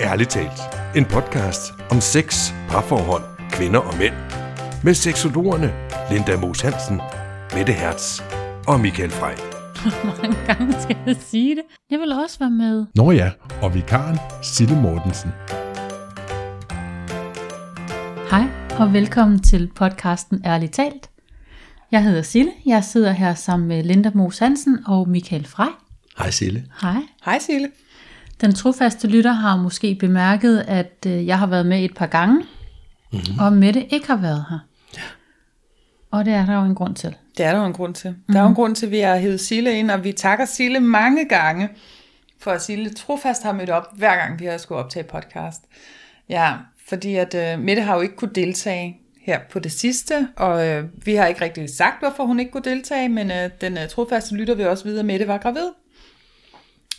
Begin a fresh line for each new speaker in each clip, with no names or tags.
Ærligt talt. En podcast om sex, parforhold, kvinder og mænd. Med seksologerne Linda Moos Hansen, Mette Hertz og Michael Frey.
mange gange skal jeg sige det. Jeg vil også være med.
Nå ja, og vikaren Sille Mortensen.
Hej og velkommen til podcasten Ærligt Talt. Jeg hedder Sille. Jeg sidder her sammen med Linda Moos Hansen og Michael Frey.
Hej Sille.
Hej.
Hej Sille.
Den trofaste lytter har måske bemærket, at øh, jeg har været med et par gange, mm-hmm. og Mette ikke har været her. Og det er der jo en grund til.
Det er der jo en grund til. Der er jo en grund til, at vi har hævet Sille ind, og vi takker Sille mange gange, for at Sille trofast har mødt op, hver gang vi har skulle optage podcast. Ja, fordi at øh, Mette har jo ikke kunne deltage her på det sidste, og øh, vi har ikke rigtig sagt, hvorfor hun ikke kunne deltage, men øh, den øh, trofaste lytter vil også vide, at Mette var gravid.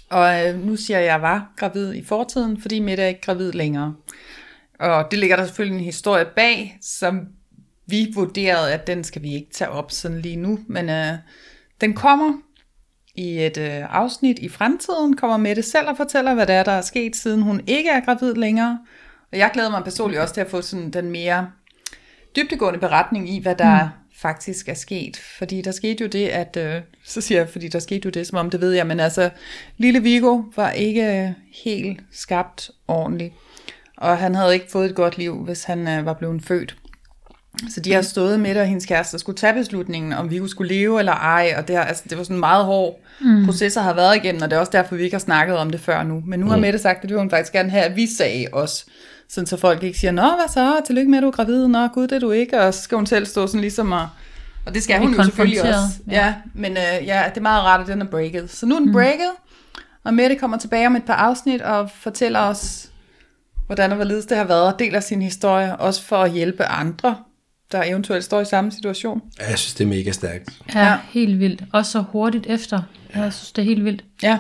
Og øh, nu siger jeg, at jeg var gravid i fortiden, fordi Mette er ikke gravid længere. Og det ligger der selvfølgelig en historie bag, som vi vurderede, at den skal vi ikke tage op sådan lige nu, men øh, den kommer i et øh, afsnit i fremtiden, kommer Mette selv og fortæller, hvad det er, der er sket, siden hun ikke er gravid længere. Og jeg glæder mig personligt også til at få sådan den mere dybtegående beretning i, hvad der mm. faktisk er sket. Fordi der skete jo det, at... Øh, så siger jeg, fordi der skete jo det, som om det ved jeg, men altså, lille Vigo var ikke helt skabt ordentligt. Og han havde ikke fået et godt liv, hvis han øh, var blevet født. Så de har stået med og hendes kæreste og skulle tage beslutningen, om Viggo skulle leve eller ej, og det, har, altså, det var sådan en meget hård mm. proces, der har været igennem, og det er også derfor, vi ikke har snakket om det før nu. Men nu har Mette sagt, at det vil hun faktisk gerne have, at vi sagde os, sådan så folk ikke siger, nå hvad så, tillykke med, at du er gravid, nå gud, det er du ikke, og så skal hun selv stå sådan ligesom og... Og det skal
Blive
hun jo selvfølgelig
konfronteret,
også. Ja, ja men øh, ja, det er meget rart, at den er breaket. Så nu er den mm. breaket, og Mette kommer tilbage om et par afsnit og fortæller os, hvordan og hvorledes det har været, og deler sin historie, også for at hjælpe andre, der eventuelt står i samme situation.
Ja, jeg synes, det er mega stærkt.
Er ja.
Ja.
helt vildt. Også så hurtigt efter. Ja. Jeg synes, det er helt vildt.
Ja,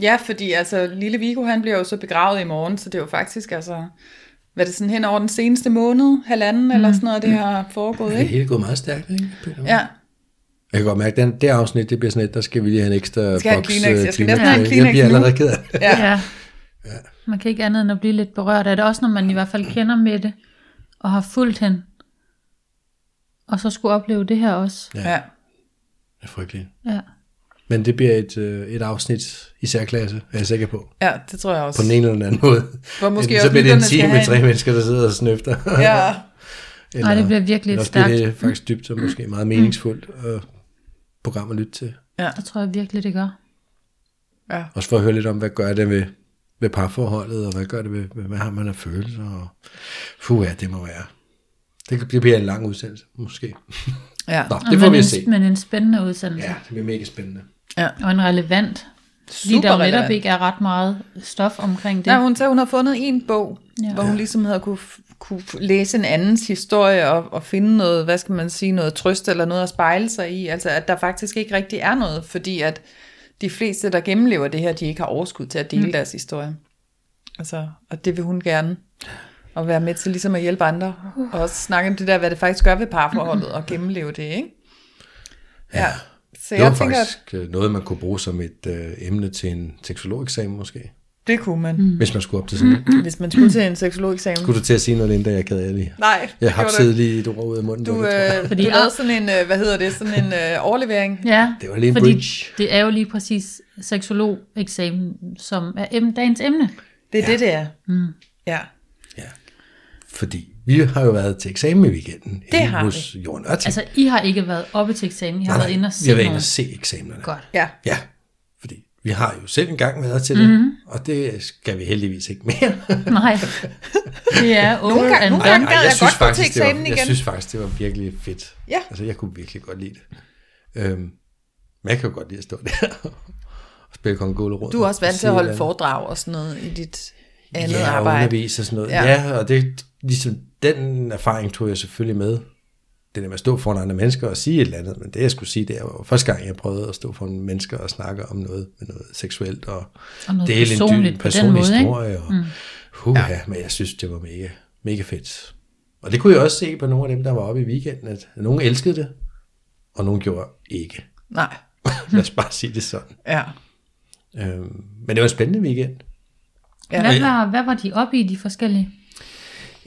ja fordi altså, lille Vigo, han bliver jo så begravet i morgen, så det er jo faktisk, altså, hvad er det sådan hen over den seneste måned, halvanden mm. eller sådan noget, det har foregået,
Det er
ikke?
helt gået meget stærkt, ikke?
Ja,
Jeg kan godt mærke, at den, det afsnit, det bliver sådan et, der skal vi lige have en ekstra
Skal jeg have en
boks
Kleenex?
øh,
Jeg skal næsten have en
med. Jeg
Kleenex
bliver
nu.
allerede ked af det.
ja.
Ja. Man kan ikke andet end at blive lidt berørt af det, også når man i hvert fald kender Mette, og har fulgt hende, og så skulle opleve det her også.
ja. ja.
Det er frygteligt.
Ja.
Men det bliver et, øh, et afsnit i særklasse, er jeg sikker på.
Ja, det tror jeg også.
På den ene eller den anden måde.
Hvor måske
Enten så
også
bliver det en
lytterne
time
skal
med
have
tre
en-
mennesker, der sidder og snøfter.
Ja,
Eller-
Ej, det bliver virkelig
eller
et
også bliver
stærkt-
det faktisk dybt og måske meget
Mm.
meningsfuldt øh, program at lytte til.
Det tror jeg virkelig, det gør.
ja.
Også for at høre lidt om, hvad gør det ved, ved parforholdet, og hvad gør det ved, hvad har man af følelser, og fuh ja, det må være. Det, kan- det bliver en lang udsendelse, måske.
ja.
Nå, det får
men
vi
en,
at se.
Men en spændende udsendelse.
Ja, det bliver mega spændende.
Ja. Og en relevant. Fordi
Super
der jo netop
relevant.
ikke er ret meget stof omkring det.
Nej, hun sagde, hun havde fundet en bog,
Ja.
ja. hvor hun ligesom havde kunne, kunne læse en andens historie og, og finde noget, hvad skal man sige, noget trøst eller noget at spejle sig i. Altså, at der faktisk ikke rigtig er noget, fordi at de fleste, der gennemlever det her, de ikke har overskud til at dele mm. deres historie. Altså, og det vil hun gerne. Og være med til ligesom at hjælpe andre. Og også snakke om det der, hvad det faktisk gør ved parforholdet, og gennemleve det, ikke? Ja. ja. Så
Det var
jeg tænker, at
faktisk øh, noget, man kunne bruge som et øh, emne til en seksologeksamen måske.
det kunne man, mm.
Hvis man skulle op til sådan noget.
hvis man skulle til en seksologeksamen.
Skulle du til at sige noget, Linda? Jeg er ked af lige.
Nej, det
Jeg
gjorde
har
du
siddet lige et ord ud af munden.
Du,
på det, tror jeg.
Fordi-
øh, Fordi du lavede sådan en, øh, hvad hedder det, sådan en øh, overlevering.
Ja,
Det var lige en
fordi
bridge.
det er jo lige præcis seksologeksamen, som er em- dagens emne.
Det er ja. det, det er. Mm. Ja.
ja. Fordi vi har jo været til eksamen i weekenden. inde
har vi.
hos Jorden Ørting.
Altså, I har ikke været oppe til eksamen, I har været inde og
vi
se
har været inde og
noget.
se eksamenerne.
Godt.
Ja.
Ja, fordi vi har jo selv engang været til det, mm-hmm.
Mhm.
og det skal vi heldigvis ikke mere.
Nej, det er over
gange-
and
nogle
done.
gange- gad jeg godt gå til
det var,
eksamen
jeg
igen.
synes faktisk, det var virkelig fedt.
Ja.
Altså, jeg kunne virkelig godt lide det. Øhm, men jeg kan jo godt lide at stå der og spille kongole rundt.
Du er også vant til at holde
for
foredrag og sådan noget i dit andet
andet ja, arbejde.
arbejde.
undervise og sådan noget. Ja.
Ja.
ja, og det ligesom den erfaring tog jeg selvfølgelig med. Det der med at stå foran andre mennesker og sige et eller andet, men det jeg skulle sige, det var første gang, jeg prøvede at stå foran mennesker og snakke om noget, med noget seksuelt og,
Og noget
dele en
personligt
dyb
på den
personlig
måde, ikke?
historie. Og, mm. huha, ja. men jeg synes, det var mega, mega fedt. Og det kunne jeg også se på nogle af dem, der var oppe i weekenden, at nogen elskede det, og nogen gjorde ikke.
Nej.
Lad os bare sige det sådan.
Ja.
Øhm, men det var en spændende weekend.
Ja. Hvad, var, hvad var de oppe i, de forskellige?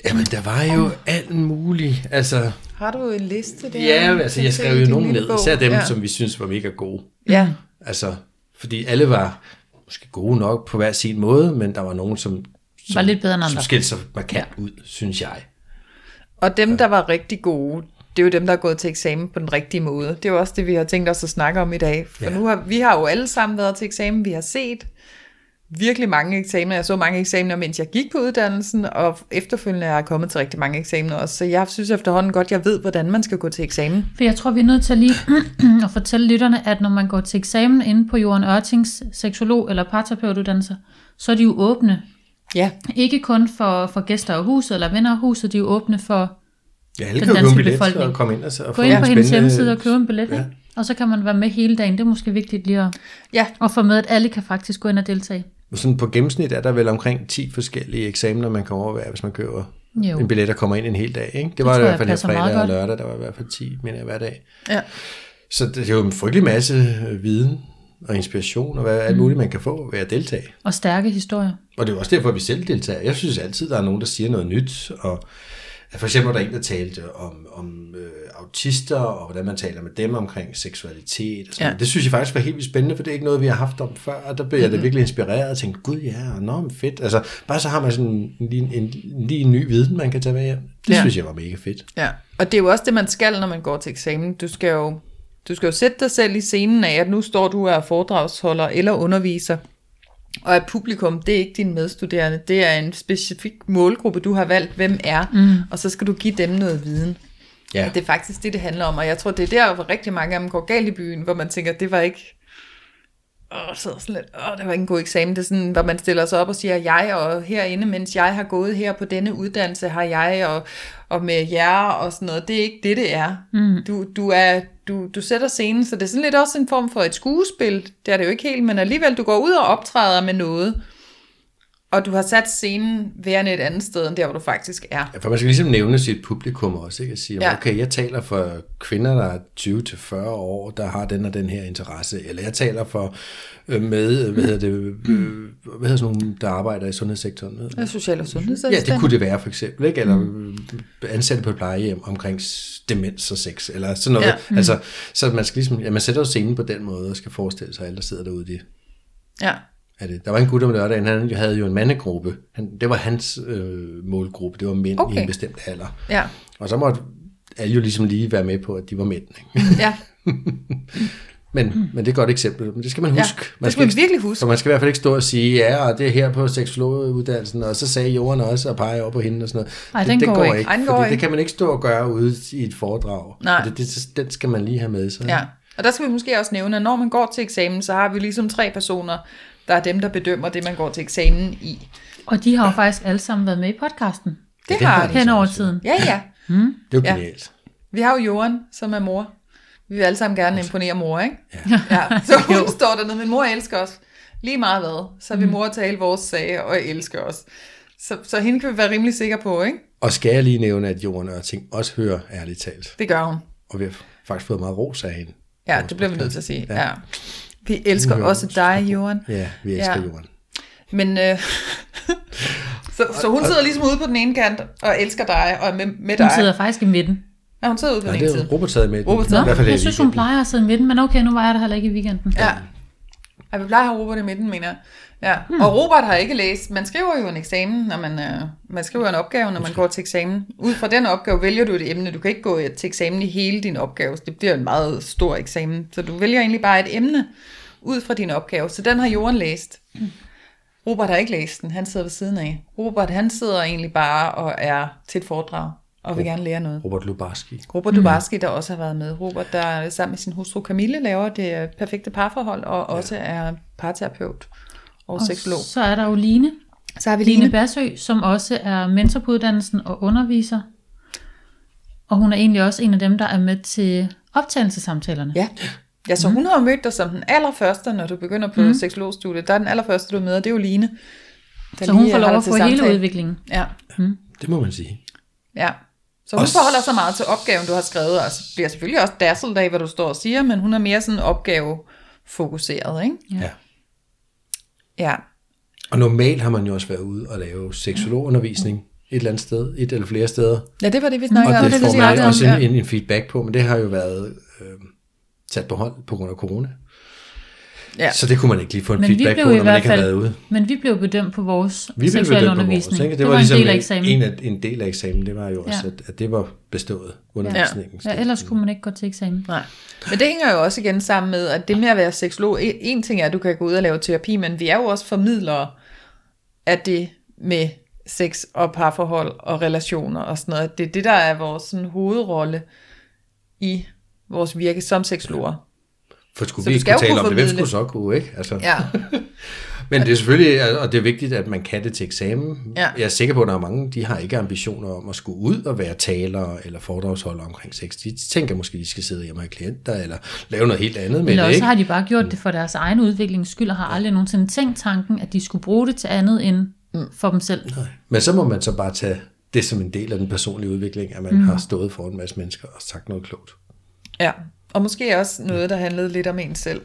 Jamen, der var jo alt muligt. Altså,
Har du en liste der?
ja, altså, jeg skrev jo nogen ned, især dem,
ja.
som vi synes var mega gode.
Ja,
Altså, fordi alle var måske gode nok på hver sin måde, men der var nogen, som, som
Var lidt bedre end
som
andre.
skilte sig markant ud, synes jeg.
og dem, der var rigtig gode, det er jo dem, der er gået til eksamen på den rigtige måde. Det er jo også det, vi har tænkt os at snakke om i dag. For
Ja.
ja. nu har, vi har jo alle sammen været til eksamen, vi har set virkelig mange eksamener. Jeg så mange eksamener, mens jeg gik på uddannelsen, og efterfølgende er jeg kommet til rigtig mange eksamener også. Så jeg synes efterhånden godt, jeg ved, hvordan man skal gå til eksamen.
For jeg tror, vi er nødt til lige at fortælle lytterne, at når man går til eksamen inde på Jorden Ørtings seksolog- eller parterapeutuddannelser, så er de jo åbne.
Ja,
Ikke kun for, for gæster af huset eller venner af huset, de er jo åbne for
Ja, alle
Den
kan jo købe
danske
en billet
befolkning.
og komme ind og, så- og
Gå
få
ind
en
på hendes
spændende-
hjemmeside og købe en billet,
Ja.
ja. og så kan man være med hele dagen. Det er måske vigtigt lige at,
ja.
at få med, at alle kan faktisk gå ind og deltage.
Sådan på gennemsnit er der vel omkring 10 forskellige eksamener, man kan overvære, hvis man køber
Jo.
jo. en billet og kommer ind en hel dag. Ikke? Det var
tror
det i
jeg
hvert fald her
passer meget
fredag og
godt.
lørdag, der var i hvert fald 10, mener jeg, hver dag.
Ja.
Så det, det er jo en frygtelig masse øh, viden og inspiration og hvad alt muligt, man kan få ved at deltage.
Og stærke historier.
Og det er jo også derfor, vi selv deltager. Jeg synes altid, der er nogen, der siger noget nyt. Og for eksempel var der en, der talte om, om øh, autister, og hvordan man taler med dem omkring seksualitet. Og sådan.
Ja.
noget. Det synes jeg faktisk var helt vildt spændende, for det er ikke noget, vi har haft om før. Og der blev jeg da virkelig inspireret og tænkte, gud ja, og nå, men fedt. Altså, bare så har man sådan en, en, en, lige en ny viden, man kan tage med hjem. Det
Ja.
ja. synes jeg var mega fedt.
Ja, og det er jo også det, man skal, når man går til eksamen. Du skal jo, du skal jo sætte dig selv i scenen af, at nu står du og er foredragsholder eller underviser. Og at publikum, det er ikke dine medstuderende, det er en specifik målgruppe, du har valgt, hvem er. Mm. Og så skal du give dem noget viden. Ja. Og det er faktisk det, det handler om. Og jeg tror, det er der, hvor rigtig mange af dem går galt i byen, hvor man tænker, det var ikke... Åh, så sådan lidt, åh, det var ikke en god eksamen. Det er sådan, hvor man stiller sig op og siger, jeg og herinde, mens jeg har gået her på denne uddannelse, har jeg og, og med jer og sådan noget. Det er ikke det, det er. Mm. Du, du, er du, du sætter scenen, så det er sådan lidt også en form for et skuespil. Det er det jo ikke helt, men alligevel, du går ud og optræder med noget, og du har sat scenen værende et andet sted, end der, hvor du faktisk er.
Ja, for man skal ligesom nævne sit publikum også, ikke? At sige,
Ja.
ja. okay, jeg taler for kvinder, der er 20-40 år, der har den og den her interesse, eller jeg taler for øh, med, øh, hvad hedder det, øh, hvad hedder sådan nogle, der arbejder i sundhedssektoren? Ved?
Det er social- og
Ja,
sundhedsassistent.
det kunne det være for eksempel, ikke? Eller mm. ansatte på et plejehjem omkring s- demens og sex, eller sådan noget.
Ja.
Ja. Altså, så man skal ligesom, ja, man sætter jo scenen på den måde, og skal forestille sig, at alle, der sidder derude, de
Ja.
er det. Der var en gut om lørdagen, han havde jo en mandegruppe. Han, det var hans øh, målgruppe, det var mænd okay. i
Okay.
en bestemt alder.
Ja.
Og så måtte alle jo ligesom lige være med på, at de var mænd. Ikke?
Ja.
Men, mm. men det er et godt eksempel. Men det skal man huske.
det skal man
ikke-
virkelig huske.
Så man skal i hvert fald ikke stå og sige, ja, og det er her på seksologuddannelsen, og så sagde jorden også og pege over på hende og sådan noget.
Ej,
Det-
den
det
går ikke.
Ej, den går
fordi
ikke.
det kan man ikke stå og gøre ude i et foredrag.
Nej.
Og Det, det, den skal man lige have med sig.
Ja, og der skal vi måske også nævne, at når man går til eksamen, så har vi ligesom tre personer, der er dem, der bedømmer det, man går til eksamen i.
Og de har jo faktisk alle sammen været med i podcasten
Det
det
har
har
de.
de.
hen over tiden.
Ja, ja.
Det er jo
Ja.
genialt.
Vi har jo Joren, som er mor. Vi vil alle sammen gerne imponere mor, ikke? Ja. ja. Så hun står dernede, men mor elsker os. Lige meget hvad, så vil mor tale vores sag og elsker os. Så, så hende kan vi være rimelig sikre på, ikke?
Og skal jeg lige nævne, at jorden og ting også hører ærligt talt.
Det gør hun.
Og vi har faktisk fået meget ros af hende.
Ja,
Vores
det bliver vi nødt
podcast.
til at sige.
Ja.
Ja. ja. Vi elsker
Hun hører
også
os.
dig, Joren.
Ja, vi elsker ja. jorden.
Men øh, så, så hun sidder ligesom ude på den ene kant og elsker dig og er med, med dig.
Hun sidder faktisk i midten.
ja, hun sidder ude på
Nej,
den ene
det er
side.
Robert taget med. i den.
Robert taget
Nå,
med.
I hvert fald
jeg
i
synes, hun
weekenden.
plejer at sidde i midten, men okay, nu var jeg der heller ikke i weekenden.
Ja. Ej, vi plejer at have Robert i midten, mener jeg. Ja. Hmm. Og Robert har ikke læst. Man skriver jo en eksamen, når man, øh, man skriver en opgave, når man går til eksamen. Ud fra den opgave vælger du et emne. Du kan ikke gå øh, til eksamen i hele din opgave. så Det bliver en meget stor eksamen. Så du vælger egentlig bare et emne ud fra din opgave. Så den har Jorden læst. Robert har ikke læst den. Han sidder ved siden af. Robert, han sidder egentlig bare og er til et foredrag og vil gerne lære noget.
Robert Lubarski.
Robert Dubarski, der også har været med. Robert, der sammen med sin hustru Camille laver det øh, perfekte parforhold, og også er parterapeut og, og seksolog.
Så er der jo Line,
Så har vi
Line
Line.
Bassø, som også er mentor på uddannelsen og underviser. Og hun er egentlig også en af dem, der er med til optagelsesamtalerne.
Ja. ja, så hun har jo mødt dig som den allerførste, når du begynder på mm. seksologstudiet. Der er den allerførste, du møder, det er jo Line. der
så hun
lige
får lov
har dig
at
til
få hele
samtale.
udviklingen.
Ja,
Det må man sige.
ja. Så hun
Og s-
forholder sig meget til opgaven, du har skrevet, og så bliver selvfølgelig også dazzled af, hvad du står og siger, men hun er mere sådan opgavefokuseret, ikke?
Ja. ja.
Ja.
Og normalt har man jo også været ude og lave seksologundervisning et eller andet sted, et eller flere steder.
Ja, det var det, vi
Og
snakkede om.
det,
det,
det
vi
får man
snakkede om,
også
ja.
en, en, en feedback på, men det har jo været øh, sat på hold på grund af corona.
Ja.
Så det kunne man ikke lige få en
Men vi
feedback på,
blev i
når man
hvert
ikke har været
fald,
ude.
men vi blev bedømt på vores
Vi blev
seksuelle
bedømt på vores,
undervisning.
ikke?
det,
ligesom
var, en del af eksamen.
En, af- en del af eksamen, det var jo også,
Ja.
at, at det var bestået undervisningen.
ja, ellers kunne man ikke gå til eksamen.
Nej. Men det hænger jo også igen sammen med, at det med at være seksolog, en- en ting er, at du kan gå ud og lave terapi, men vi er jo også formidlere af det med sex og parforhold og relationer og sådan noget. Det er det, der er vores sådan, hovedrolle i vores virke som seksologer.
For skulle
Så
vi
du
ikke
skal
kunne
jo
tale
kunne
om det, hvem
formidle.
skulle så kunne, ikke? Altså.
Ja.
Men det er selvfølgelig, og det er vigtigt, at man kan det til eksamen.
Ja.
Jeg er sikker på, at der er mange, de har ikke ambitioner om at skulle ud og være talere eller foredragsholdere omkring sex. De tænker måske, de skal sidde hjemme og have klienter eller lave noget helt andet med
Eller
det,
også
ikke?
har de bare gjort det for deres egen udviklings skyld, og har aldrig nogensinde tænkt tanken, at de skulle bruge det til andet end
Mm.
for dem selv.
Men så må man så bare tage det som en del af den personlige udvikling, at man mm. har stået foran en masse mennesker og sagt noget klogt.
ja. Og måske også noget, der handlede lidt om en selv.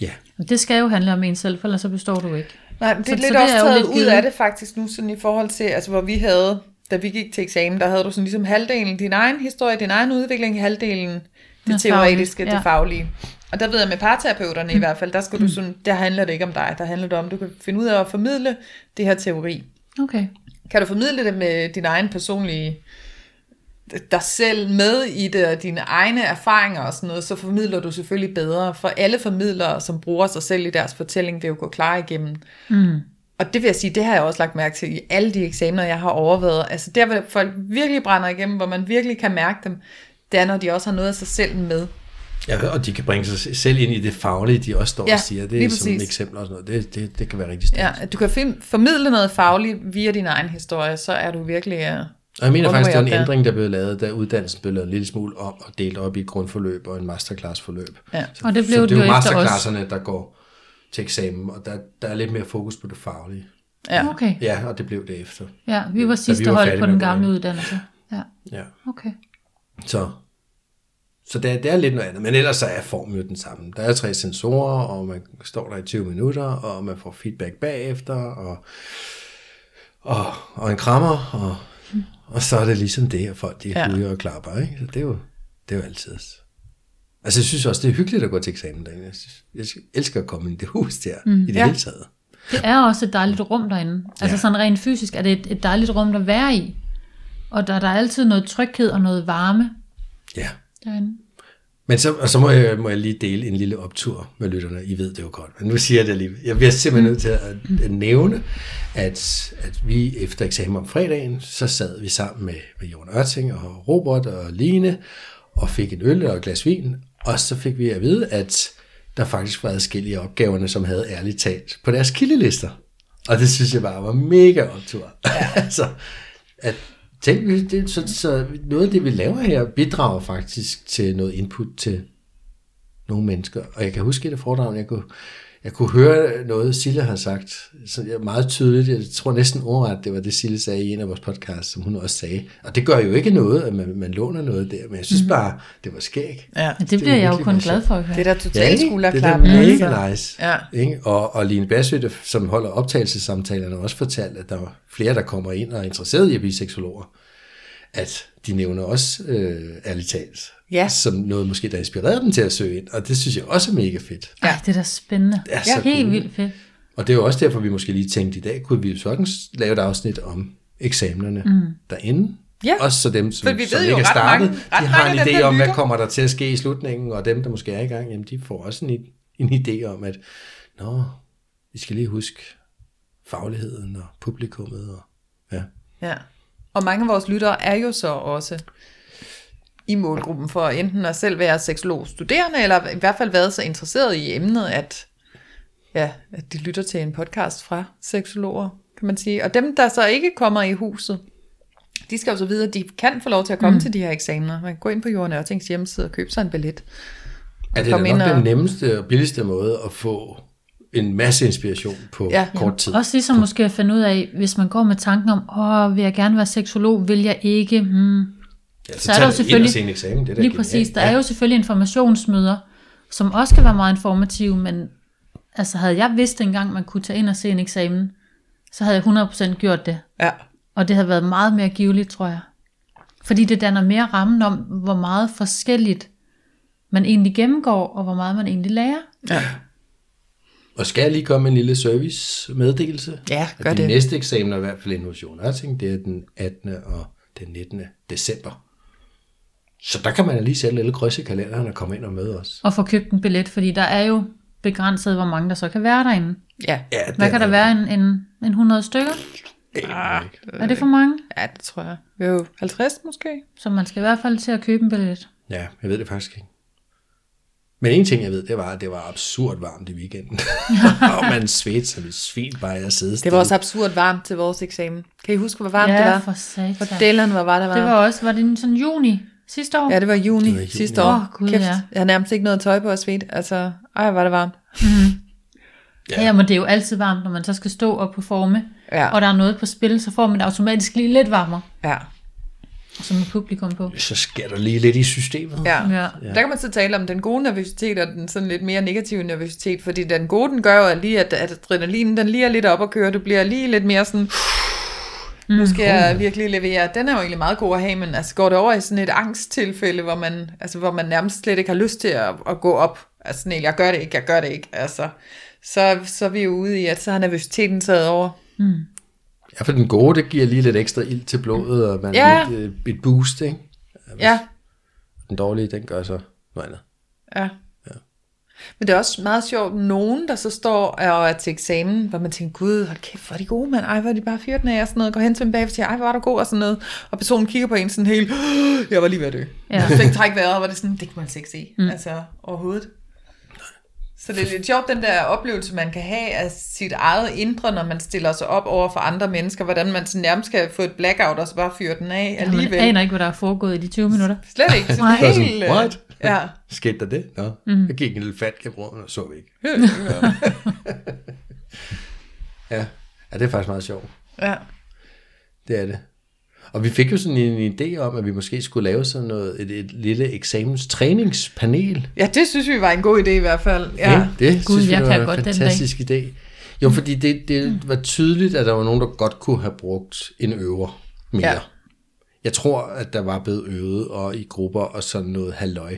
Ja,
Og det skal jo handle om en selv, for ellers så består du ikke.
Nej, men det er
Så-
lidt
så det
også
er jo
taget
lidt
ud
givet.
af det faktisk nu, sådan i forhold til, altså hvor vi havde, da vi gik til eksamen, der havde du sådan ligesom halvdelen din egen historie, din egen udvikling, halvdelen det
Ja,
teoretiske,
fagligt, ja. Mm.
det faglige. Og der ved jeg med parterapeuterne i hvert fald, der, skal du sådan, der handler det ikke om dig, der handler det om, du kan finde ud af at formidle det her teori.
Okay.
Kan du formidle det med din egen personlige dig selv med i det, og dine egne erfaringer og sådan noget, så formidler du selvfølgelig bedre. For alle formidlere, som bruger sig selv i deres fortælling, vil jo gå klar igennem. Mm. Og det vil jeg sige, det har jeg også lagt mærke til i alle de eksamener, jeg har overvejet. Altså der, hvor folk virkelig brænder igennem, hvor man virkelig kan mærke dem, det er, når de også har noget af sig selv med.
ja og de kan bringe sig selv ind i det faglige, de også står ja,
Ja,
og siger. Det er
lige
som et
præcis.
eksempel og sådan noget. Det, det, det kan være rigtig stærkt.
Ja, at du kan fin- formidle noget fagligt via din egen historie, så er du virkelig... øh,
Og jeg mener
One
faktisk, det
way
var en
up
ændring, der blev lavet, da uddannelsen blev lavet en lille smule om og delt op i et grundforløb og en masterclass-forløb.
Ja,
Så,
og det blev
så
det
det
jo
er
efter os.
masterclasserne, der går til eksamen, og der, der er lidt mere fokus på det faglige.
Ja.
Okay.
Ja, og det blev det efter.
Ja, vi var sidste
var
hold
færdige
på
med
den
at gå
gamle
ind.
uddannelse. Ja,
Ja.
okay.
Så, så det, er, det er lidt noget andet, men ellers så er formen jo den samme. Der er tre sensorer, og man står der i 20 minutter, og man får feedback bagefter, og, og, og en krammer, og, og så er det ligesom det, og folk de
Ja.
ja. huger og klapper. Ikke? Så det er, jo, det er jo altid. Altså jeg synes også, det er hyggeligt at gå til eksamen derinde. Jeg, synes, jeg elsker at komme ind i det hus der, mm, i det
Ja.
ja. hele taget.
Det er også et dejligt rum derinde. Altså sådan rent fysisk er det et, et dejligt rum at være i. Og der, der er altid noget tryghed og noget varme
Ja.
derinde.
Men så, og så må, jeg, må jeg lige dele en lille optur med lytterne. I ved det jo godt, men nu siger jeg det lige. Jeg bliver simpelthen nødt til at, at nævne, at, at vi efter eksamen om fredagen, så sad vi sammen med, med Jon Ørting og Robert og Line, og fik en øl og et glas vin, og så fik vi at vide, at der faktisk var adskillige af opgaverne, som havde ærligt talt på deres kildelister. Og det synes jeg bare var mega optur. altså, at tænk, hvis det, så, så noget af det, vi laver her, bidrager faktisk til noget input til nogle mennesker. Og jeg kan huske et af foredragene, jeg kunne, jeg kunne høre noget, Sille har sagt, så jeg er meget tydeligt, jeg tror næsten ordret, det var det, Sille sagde i en af vores podcasts, som hun også sagde. Og det gør jo ikke noget, at man, man låner noget der, men jeg synes bare, det var skægt.
Ja.
Men det,
Altså, Det er
bliver jeg jo
virkelig
kun
meget
glad for at høre.
Det er da
ikke?
totalt
Det er
skulderklap.
da
altså.
mega nice.
Ja.
Ikke? Og, og Line Bassø, der- som holder optagelsessamtalerne, har også fortalt, at der er flere, der kommer ind og er interesseret i at blive seksologer. At de nævner også øh, ærligt talt,
Ja.
som noget måske, der inspirerede dem til at søge ind. Og det synes jeg også er mega fedt.
Ej, det er da spændende.
Det er
ja,
så
helt
cool.
vildt fedt.
Og det er jo også derfor, vi måske lige tænkte i dag, kunne vi jo sagtens lave et afsnit om eksamenerne mm. derinde.
Ja.
Også så dem,
For
som,
vi ved
som
jo,
ikke er
ret
startet,
mange- ret
de har en
mange af dem,
idé
der
om, hvad
lytter.
kommer der til at ske i slutningen, og dem, der måske er i gang, jamen, de får også en, en idé om, at nå, vi skal lige huske fagligheden og publikummet. Og, ja.
Ja. Og mange af vores lyttere er jo så også i målgruppen for enten at selv være seksologstuderende, eller i hvert fald været så interesseret i emnet, at, ja, at de lytter til en podcast fra seksologer, kan man sige. Og dem, der så ikke kommer i huset, de skal jo så vide, at de kan få lov til at komme mm. til de her eksamener. Man kan gå ind på Jorden Ørtings hjemmeside og købe sig en billet.
Er det
Kom
da
ind
nok
og-
den nemmeste og billigste måde at få en masse inspiration på
Ja.
ja. kort tid?
Også ligesom måske at finde ud af, hvis man går med tanken om, åh, vil jeg gerne være seksolog, vil jeg ikke, hmm,
Ja,
så er
Altså, tag
der jo
ind og
selvfølgelig-
se en eksamen, det er da
Lige
genialt.
præcis. Der er jo selvfølgelig informationsmøder, som også kan være meget informative, men altså havde jeg vidst engang, man kunne tage ind og se en eksamen, så havde jeg 100% gjort det.
Ja.
Og det havde været meget mere giveligt, tror jeg. Fordi det danner mere rammen om, hvor meget forskelligt man egentlig gennemgår, og hvor meget man egentlig lærer.
Ja.
Og skal jeg lige komme med en lille service-meddelelse?
Ja,
At
gør
de
det.
næste eksamener, i hvert fald inde hos Jon Ørting, det er den 18. og den 19. december. Så der kan man lige sætte et lille kryds i kalenderen og komme ind og møde os.
Og få købt en billet, fordi der er jo begrænset, hvor mange der så kan være derinde.
Ja.
Ja,
Hvad kan der være? En, en, en 100 stykker?
Ah.
Er det for mange?
ja, det tror jeg. Jo, 50 måske?
Så man skal i hvert fald til at købe en billet.
Ja, jeg ved det faktisk ikke. Men en ting, jeg ved, det var, at det var absurd varmt i weekenden. og man svedte som et svin bare af at sidde
Det var også absurd varmt til vores eksamen. Kan I huske, hvor varmt det
ja,
var?
for satan.
For Dylan, hvor var det varmt.
Det var også, var det en sådan juni sidste år?
Ja, det var i juni, det var juni.
i juni.
sidste år.
Åh, Gud, ja.
Jeg har nærmest ikke noget tøj på og svedt. Altså, ej, var det varmt.
ja. ja men det er jo altid varmt, når man så skal stå op på forme,
Ja.
og der er noget på spil, så får man det automatisk lige lidt varmere,
Ja.
som er publikum på.
Så skal der lige lidt i systemet.
Ja.
Ja.
ja. Der kan man så tale om den gode nervøsitet og den sådan lidt mere negative nervøsitet, fordi den gode, den gør jo at lige, at, at adrenalinen, den lige er lidt op at køre, du bliver lige lidt mere sådan, nu skal jeg virkelig levere. Den er jo egentlig meget god at have, men altså går det over i sådan et angsttilfælde, hvor man, altså, hvor man nærmest slet ikke har lyst til at, at gå op. Altså sådan, en, jeg gør det ikke, jeg gør det ikke. Altså, så, så er vi jo ude i, at så har nervøsiteten taget over.
Ja, for den gode, det giver lige lidt ekstra ild til blodet, og man
Ja.
ja. lidt, øh, et boost, ikke?
Ja,
Den dårlige, den gør så noget andet.
Ja. Men det er også meget sjovt, nogen der så står og er til eksamen, hvor man tænker, gud, hold kæft, hvor er de gode, mand. Ej, hvor er de bare fyrten af, og sådan noget. Går hen til dem bag og siger, ej, hvor var du god, og sådan noget. Og personen kigger på en sådan helt, "Åh, jeg var lige ved at dø.
Ja.
Ja. Så ikke træk vejret, og var det sådan, det kan man altså ikke se, mm. altså overhovedet. Så det er lidt sjovt, den der oplevelse, man kan have af sit eget indre, når man stiller sig op over for andre mennesker, hvordan man sådan nærmest kan få et blackout, og så bare fyre den af
Ja, Altså, man
alligevel.
aner ikke, hvad der er foregået i de 20 minutter.
Slet ikke. Sådan
Nej.
helt, øh,
What?
Ja.
Skete der det? Nå, mm. jeg gik en lille fat gennem rummet, og så vi ikke. ja. ja. ja, det er faktisk meget sjovt.
ja.
Det er det. Og vi fik jo sådan en idé om, at vi måske skulle lave sådan noget, et, et lille eksamenstræningspanel.
Ja, det synes vi var en god idé i hvert fald. Ja.
Ja, det
Gud,
synes vi,
jeg
det
kan
var
godt
en
den dag. Mm.
fantastisk idé. Jo, fordi det, det var tydeligt, at der var nogen, der godt kunne have brugt en øver mere.
Ja.
Ja. Jeg tror, at der var blevet øvet og i grupper og sådan noget halløj.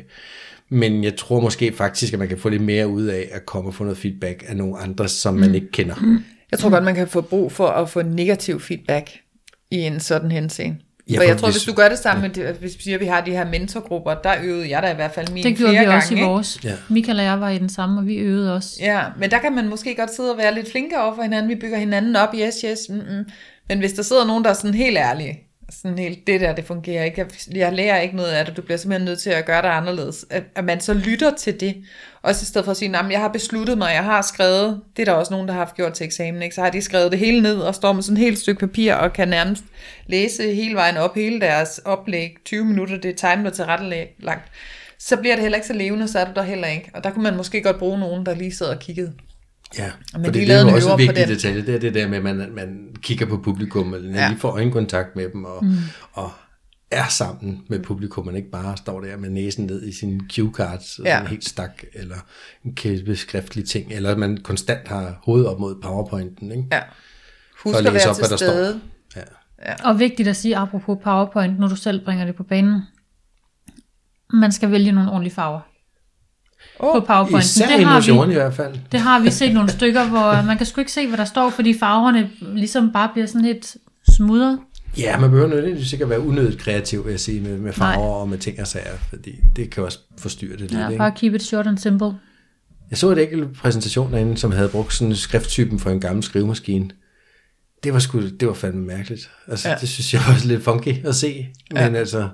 Men jeg tror måske faktisk, at man kan få lidt mere ud af at komme og få noget feedback af nogle andre, som
Mm.
man ikke kender.
Jeg tror godt, man kan få brug for at få negativ feedback i en sådan henseende.
Ja,
Ja, for jeg
for
tror,
hvis-
hvis du gør det sammen med, det- hvis vi siger, at vi har de her mentorgrupper, der øvede jeg da i hvert fald min
Det gjorde
flere
vi
gange,
også i
ikke?
vores.
Ja.
Michael og jeg var i den samme, og vi øvede også.
Ja, men der kan man måske godt sidde og være lidt flinkere over for hinanden. Vi bygger hinanden op, yes, yes, mm, mm. Men hvis der sidder nogen, der er sådan helt ærlige, sådan helt, det der, det fungerer ikke, jeg, jeg lærer ikke noget af det, du bliver simpelthen nødt til at gøre det anderledes, at, at man så lytter til det, også i stedet for at sige, "Nå, men jeg har besluttet mig, jeg har skrevet, det er der også nogen, der har haft gjort til eksamen, ikke? så har de skrevet det hele ned og står med sådan et helt stykke papir og kan nærmest læse hele vejen op, hele deres oplæg, 20 minutter, det er timet og tilrettelagt så bliver det heller ikke så levende, så er du der heller ikke. Og der kunne man måske godt bruge nogen, der lige sad og kiggede.
Ja,
Men de
for det, det
lavede
er
en
jo også
øver
en
på
vigtig
den.
detalje, det er det der med, at man, man kigger på publikum, eller
Ja.
ja. lige får øjenkontakt med dem, og, mm. og er sammen med publikum, man ikke bare står der med næsen ned i sine cue cards, og
Ja.
sådan helt stak, eller en kæmpe skriftlig ting, eller at man konstant har hovedet op mod powerpointen, ikke?
Ja. Husk
For at
at
læse
være
op,
til
hvad der står.
stede.
Ja.
Og vigtigt at sige, apropos PowerPoint, når du selv bringer det på banen, man skal vælge nogle ordentlige farver
Oh,
på PowerPoint.
Især
Det har vi.
emotionen i hvert fald.
Det har vi set nogle stykker, hvor øh, man kan sgu ikke se, hvad der står, fordi farverne ligesom bare bliver sådan lidt smudret.
Ja, man behøver nødvendigvis ikke at være unødigt kreativ, vil jeg sige, med, med farver og med ting og sager, fordi det kan også forstyrre det lidt,
Ja,
ikke?
bare keep it short and simple.
Jeg så et enkelt præsentation derinde, som havde brugt sådan skrifttypen for en gammel skrivemaskine. Det var sgu, det var fandme mærkeligt. Altså,
Ja.
ja. det synes jeg var lidt funky at se. Men ja. altså,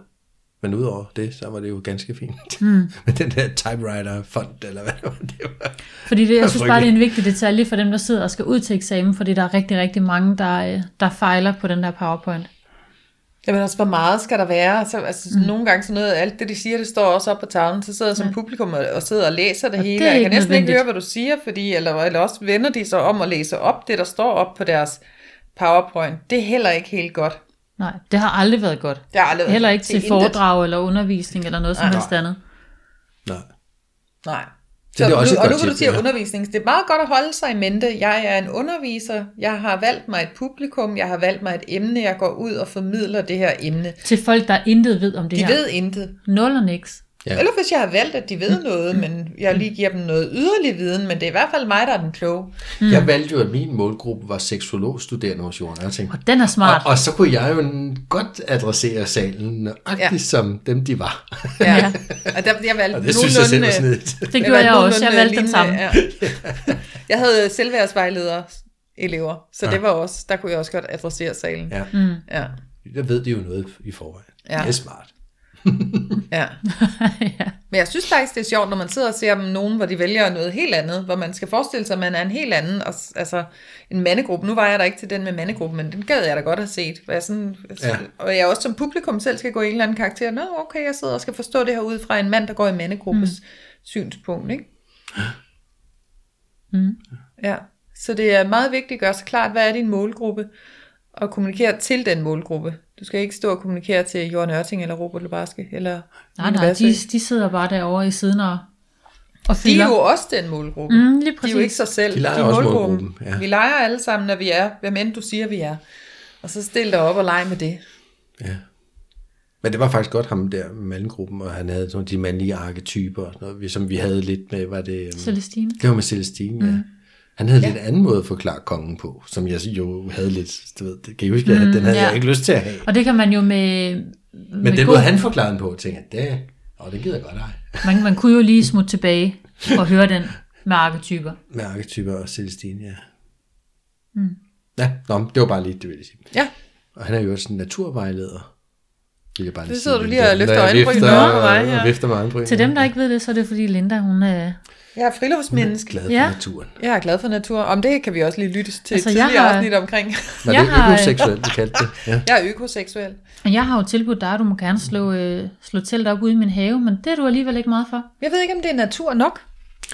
men udover det, så var det jo ganske fint. Mm. Men den der typewriter font, eller hvad det var, det var.
Fordi det, jeg synes bare, det er
frygteligt.
en vigtig detalje for dem, der sidder og skal ud til eksamen, fordi der er rigtig, rigtig mange, der, øh, der fejler på den der PowerPoint.
Jamen også, hvor meget skal der være? Så, altså, mm. Nogle gange sådan noget, alt det, de siger, det står også op på tavlen. Så sidder jeg som publikum og, og sidder og læser det og hele.
det er
og jeg
ikke
kan næsten ikke
nødvendigt.
høre, hvad du siger, fordi, eller, eller også vender de sig om og læser op det, der står op på deres PowerPoint. Det er heller ikke helt godt.
Nej, det har aldrig været godt.
Det har aldrig været
Heller
godt
ikke
til
til
intet.
foredrag eller undervisning eller noget som helst andet.
Nej.
Nej.
det er
Så
også
nu,
et
og nu
godt
kan du
tip,
sige
ja.
undervisning. Det er meget godt at holde sig i mente. Jeg er en underviser. Jeg har valgt mig et publikum. Jeg har valgt mig et emne. Jeg går ud og formidler det her emne.
Til folk, der intet ved om det
De
her.
ved intet.
Nul og niks.
Ja.
Eller hvis jeg har valgt, at de
Mm.
ved noget, men jeg lige giver dem noget yderlig viden, men det er i hvert fald mig, der er den kloge.
Mm. Jeg valgte jo, at min målgruppe var seksologstuderende hos Jorden. og Jeg tænkte,
Og den er smart.
Og, og så kunne jeg jo godt adressere salen nøjagtigt ja.
Ja.
som dem, de var.
Ja. Og der, jeg valgte
Og det synes jeg selv var
nogenlunde-
snedigt.
det gjorde jeg
valgte
også. Jeg
nogenlunde
valgte den samme.
lignende, ja. Jeg havde selvværdsvejledere elever, så ja. det var også, der kunne jeg også godt adressere salen.
Ja.
Mm. ja.
Der ved de jo noget i forvejen. Ja.
Ja.
Det er smart.
Ja.
ja.
Men jeg synes faktisk, det er sjovt, når man sidder og ser dem nogen, hvor de vælger noget helt andet, hvor man skal forestille sig, at man er en helt anden, og, s- altså en mandegruppe. Nu var jeg der ikke til den med mandegruppen, men den gad jeg da godt have set. Hvor jeg sådan,
Ja.
ja. Og jeg også som publikum selv skal gå i en eller anden karakter. Nå, okay, jeg sidder og skal forstå det her ud fra en mand, der går i mandegruppes mm. synspunkt, ikke? Mm. Ja, så det er meget vigtigt at gøre sig klart, hvad er din målgruppe, og kommunikere til den målgruppe. Du skal ikke stå og kommunikere til Jørgen Ørting eller Robert Lubarske, eller
Nej,
Line
nej,
Basse.
de, de sidder bare derovre i siden og, og
De
fylder.
er jo også den målgruppe.
Mm, lige
de er
præcis.
jo ikke sig selv.
De leger
er
også målgruppen, ja.
Vi leger alle sammen, når vi er, hvem end du siger, vi er. Og så stil dig op og lege med det.
Ja. Men det var faktisk godt ham der med mandgruppen, og han havde sådan de mandlige arketyper, og sådan noget, vi- som vi havde lidt med, var det... øhm,
Celestine.
Det var med Celestine, ja. Han havde ja. lidt anden måde at forklare kongen på, som jeg jo havde lidt, du ved, det kan I huske, at den havde
ja.
jeg ikke lyst til at have.
Og det kan man jo med... med
Men den
god-
måde, han forklarede den på, tænkte jeg, det, åh, det gider jeg godt ej.
man, man kunne jo lige smutte tilbage og høre den med arketyper.
Med arketyper og Celestine, ja. Mm. Ja, nå, men det var bare lige, det ville jeg sige.
Ja,
Og han er jo også en naturvejleder. Vil jeg bare
Det
lige
sidder
sige,
du
det
lige
der.
og løfter
Når jeg
øjenbrynene
vifter-
over mig, ja.
og vifter med øjenbrynene.
Til dem, der ikke ved det, så er det fordi Linda, hun er...
jeg er friluftsmenneske.
Glad for ja.
Ja.
naturen.
Jeg er glad for natur. Om det kan vi også lige lytte til altså,
Altså, jeg
tidligere har...
har-
afsnit omkring.
Var
Jeg
det ikke
har-
økoseksuelt, du kaldte det? Ja.
jeg er økoseksuel.
Og jeg har jo tilbudt dig, at du må gerne slå, øh, slå telt op ude i min have, men det er du alligevel ikke meget for.
Jeg ved ikke, om det er natur nok.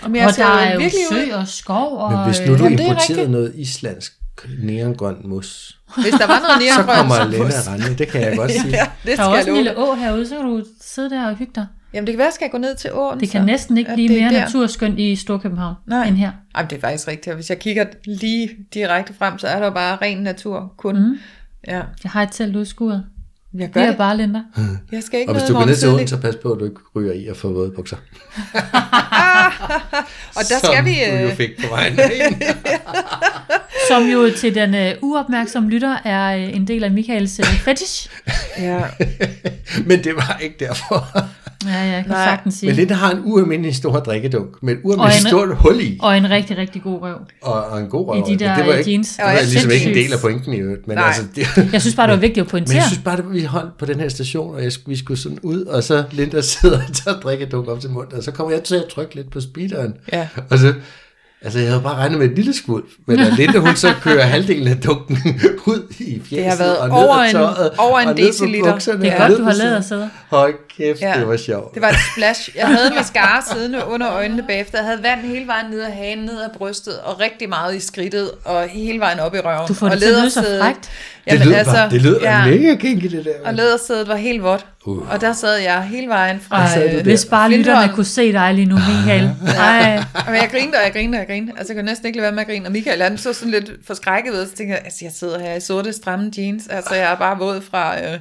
Om jeg
og der er
ser
jo
virkelig ud.
sø og skov, og øh,
Men hvis nu du
Jamen, det er
importerede
rigtigt.
noget islandsk neongrøn mos,
Hvis der var noget
så
nære
kommer Lena rende, det kan jeg godt
altså
sige.
Ja, det
øh, der
skal
er
jeg
også en
love.
lille å herude, så kan du sidde der og hygge dig.
Jamen det kan være, at jeg skal gå ned til åen.
Det kan
så.
næsten ikke
At
blive
Altså, det er
mere
der.
naturskønt i Storkøbenhavn
Nej.
end her.
Jamen, det er faktisk rigtigt. Og hvis jeg kigger lige direkte frem, så er der jo bare ren natur kun. Mm. Ja,
Jeg har et telt udskuret.
jeg gør
Det er
det. Bare...
bare Linda.
Jeg skal ikke
Og hvis
noget
du
i
går
morgen
ned til Oden,
tidligt.
så pas på, at du ikke ryger i og får våde bukser.
Og der skal vi...
Som du jo
Øh,
fik på vejen.
Som jo til den øh, uopmærksomme lytter er øh, en del af Michaels øh, fetish.
ja.
Men det var ikke derfor.
Ja, ja, jeg kan
Nej.
sagtens sige.
Men Linda har en ualmindelig stor drikkedunk, med et ualmindelig
Og en-
stort hul i,
Og en rigtig, rigtig god røv.
og, og en god røv.
I de der
det var ikke,
jeans.
Det var
Og
ligesom ikke
sindssygt.
en del af pointen i øvrigt. Men
Nej.
altså, det,
Jeg synes bare, det var vigtigt at
Men jeg
pointere.
synes bare, at vi holdt på den her station, og jeg, vi skulle sådan ud, og så Linda sidder og tager drikkedunk op til munden, og så kommer jeg til at trykke lidt på speederen.
Ja.
Og så, altså jeg havde bare regnet med et lille skvulp, men at Linda hun så kører halvdelen af dunken ud i fjeset,
været
og ned
over
af
en-
tøjet,
over en
og ned på
deciliter.
bukserne,
Det er
og
godt,
ned
du
på
har
siden.
ladet at sidde.
Hold kæft,
Ja.
det var sjovt.
Det var et splash. Jeg havde mascara siddende under øjnene bagefter. Jeg havde vand hele vejen ned ad hagen, ned ad brystet, og rigtig meget i skridtet, og hele vejen op i røven.
Du får
og
det til at lyde så
lædersædet-
frækt.
det lød, bare, det lød ja. mega kinky, det der.
altså, Og lædersædet var helt vådt. Uh. Og der sad jeg hele vejen fra... øh,
Ej,
sad du der.
hvis bare lytterne
Flintholm.
kunne se dig lige nu, Michael. Ej,
Og jeg grinte, og jeg grinte, og jeg grinte. Altså, jeg kunne næsten ikke lade være med at grine. Og Michael, han så sådan lidt forskrækket ud, og så tænkte jeg, altså, jeg sidder her i sorte, stramme jeans. Altså, jeg er bare våd fra øh,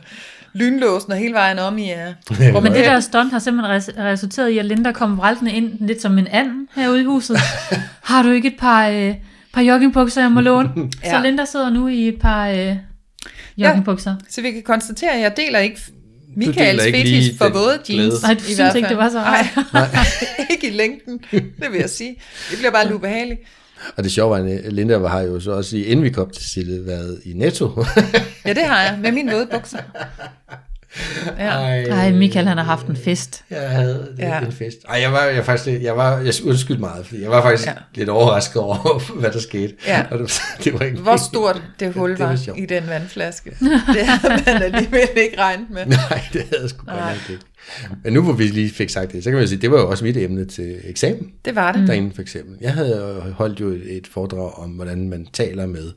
lynlåsen og hele vejen om i... Øh.
men det der stunt har simpelthen res- resulteret i, at Linda kom vraltende ind lidt som en anden herude i huset. Har du ikke et par, øh, par joggingbukser, jeg må låne?
Ja.
Så Linda sidder nu i et par øh, joggingbukser.
Så vi kan konstatere, at jeg deler ikke Michaels
deler ikke lige
fetish for
den
våde jeans.
glæde.
Nej, du synes
hvert
ikke,
fald.
det var så rart.
Nej, ikke i længden, det vil jeg sige. Det bliver bare lidt ubehageligt.
Og det sjove var, at Linda har jo så også, lige inden vi kom til Sille, været i Netto.
Ja, det har jeg, med mine våde bukser. Ja.
Øh,
Ej, Michael han har haft en fest.
Jeg havde det ja.
Ja.
en fest. Ej, jeg var, jeg faktisk, jeg var, jeg undskyld meget, fordi jeg var faktisk ja.
Ja.
lidt overrasket over, hvad der skete.
Ja.
Og det, det var ikke
Hvor stort det hul
Det var
var
sjovt.
i den vandflaske. Det havde man alligevel ikke regnet med.
Nej, det havde jeg sgu godt nok ikke. Men nu hvor vi lige fik sagt det, så kan man jo sige, det var jo også mit emne til eksamen
Det var det.
mm. derinde for eksempel. Jeg havde jo holdt jo et et foredrag om, hvordan man taler med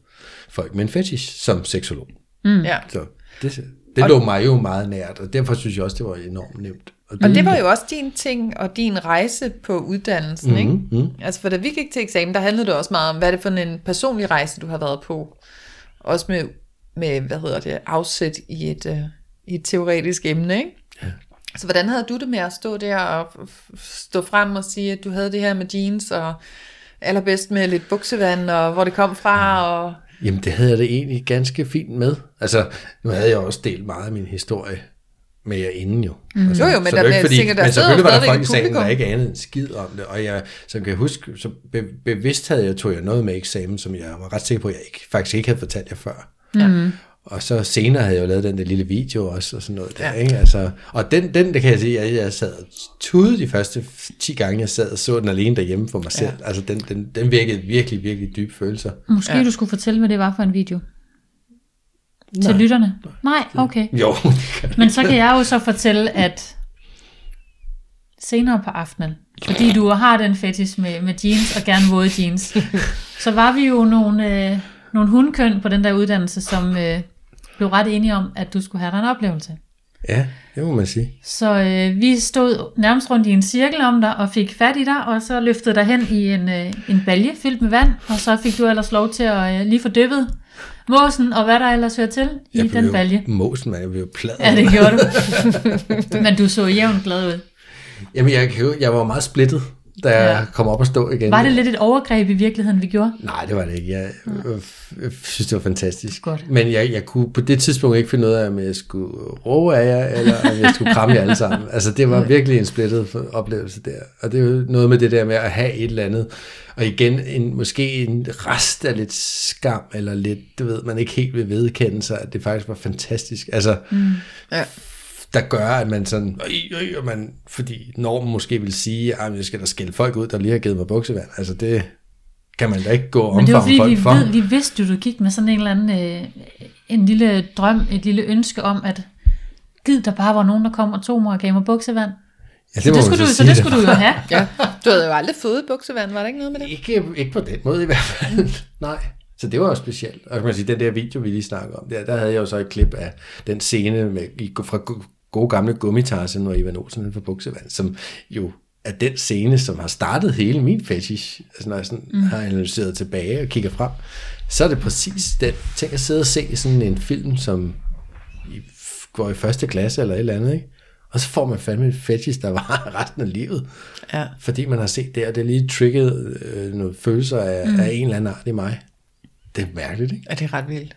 folk med en fetish som seksolog.
Mm. Ja.
Så det, det lå mig jo meget nært, og derfor synes jeg også, det var enormt nemt.
Og det var jo også din ting og din rejse på uddannelsen, mm-hmm. ikke? Mm-hmm. Altså, for da vi gik til eksamen, der handlede det også meget om, hvad er det for en personlig rejse, du har været på? Også med, med hvad hedder det, afsæt i et, øh, i et teoretisk emne, ikke? Ja. Så hvordan havde du det med at stå der og f- f- stå frem og sige, at du havde det her med jeans, og allerbedst med lidt buksevand, og hvor det kom fra, og...
Jamen, det havde jeg det egentlig ganske fint med. Altså, nu havde jeg også delt meget af min historie med jer inden jo. Mm.
Jo, jo, men
så
der-
det er ikke
men
fordi,
jeg tænker, der
men
sidder
selvfølgelig
jo
var der
stadigvæk
folk i
et
salen, der
publikum.
ikke anede en skid om det, og jeg, som kan huske, så be, bevidst havde jeg, tog jeg noget med eksamen, som jeg var ret sikker på, at jeg ikke, faktisk ikke havde fortalt jer før.
Ja.
Og så senere havde jeg jo lavet den der lille video også, og sådan noget der, ja. ikke? Altså, og den, den, det kan jeg sige, at jeg sad og tudede de første 10 gange, jeg sad og så den alene derhjemme for mig selv. Ja. Altså, den, den, den virkede virkelig, virkelig dybe følelser.
Måske ja. du skulle fortælle, hvad det var for en video. Nej. Til lytterne? Nej, okay.
Jo, det kan
Men så kan jeg jo så fortælle, at senere på aftenen, fordi du har den fetish med, med jeans og gerne våde jeans, så var vi jo nogle, øh, nogle hundkøn på den der uddannelse, som øh, blev ret enige om, at du skulle have dig en oplevelse.
Ja, det må man sige.
Så øh, vi stod nærmest rundt i en cirkel om dig og fik fat i dig, og så løftede dig hen i en, øh, en balje fyldt med vand, og så fik du ellers lov til at øh, lige få dyppet måsen og hvad der ellers hører til i
Jeg blev
den
jo
balje.
Måsen, man. Jeg blev jo pladet.
Ja, det gjorde du. Men du så jævnt glad ud.
Jamen, jeg, kan jo- jeg var jo meget splittet, da ja. jeg kom op og stå igen.
Var det lidt et overgreb i virkeligheden, vi gjorde?
Nej, det var det ikke. Jeg, øh, f- jeg synes, det var fantastisk.
Godt.
Men jeg, jeg kunne på det tidspunkt ikke finde ud af, om jeg skulle råbe af jer, eller om jeg skulle kramme jer alle sammen. Altså, det var virkelig en splittet f- oplevelse der. Og det er jo noget med det der med at have et eller andet. Og igen, en, måske en rest af lidt skam, eller lidt, du ved, man ikke helt vil vedkende sig, at det faktisk var fantastisk. Altså, mm.
Ja.
der gør, at man sådan, øj, øj, og man, fordi normen måske vil sige, at jeg skal da skælde folk ud, der lige har givet mig buksevand. Altså, det kan man da ikke gå og
Men det var
omfavne
fordi,
folk
vi,
for.
ved, vi vidste jo, du gik med sådan en eller anden øh, en lille drøm, et lille ønske om, at gid der bare var nogen, der kom og tog mig og gav mig buksevand.
Ja,
Så
må
det,
man
skulle du, så
sige,
det skulle du jo have.
ja. Du havde jo aldrig fået buksevand, var der ikke noget med det? Mm.
Ikke, ikke på den måde i hvert fald. Nej. Så det var også specielt. Og kan man sige, den der video, vi lige snakkede om, der, der havde jeg jo så et klip af den scene med, i, fra go- gode gamle gummitarsen, hvor Ivan Olsen han får buksevand, som jo er den scene, som har startet hele min fetish. Altså når jeg sådan mm. har analyseret tilbage og kigger frem, så er det præcis den. Tænk at sidde og se sådan en film, som i, går i første klasse eller et eller andet, ikke? Og så får man fandme et fetish, der var resten af livet.
Ja.
Fordi man har set det, og det lige trigget øh, nogle følelser af, mm. af en eller anden art i mig. Det er mærkeligt, ikke?
Ja, det er ret vildt.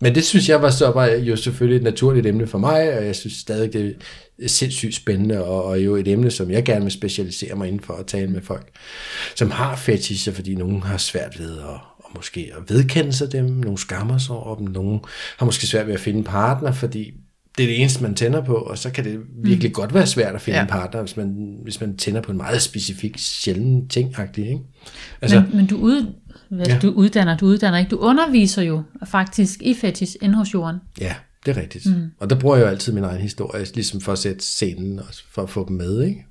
Men det synes jeg var så var jo selvfølgelig et naturligt emne for mig, og jeg synes stadig, det er sindssygt spændende, og, og jo et emne, som jeg gerne vil specialisere mig inden for at tale med folk, som har fetischer, fordi nogen har svært ved at og måske at vedkende sig dem, nogle skammer sig over dem, nogen har måske svært ved at finde en partner, fordi det er det eneste, man tænder på, og så kan det virkelig mm. godt være svært at finde
Ja.
ja. en partner, hvis man, hvis man tænder på en meget specifik, sjælden ting ikke? Altså,
Men, men du, ud, hvad,
Ja.
du uddanner, du uddanner ikke. Du underviser jo faktisk i fetish inde hos jorden.
Ja, det er rigtigt. Mm. Og der bruger jeg jo altid min egen historie, ligesom for at sætte scenen, og for at få dem med, ikke?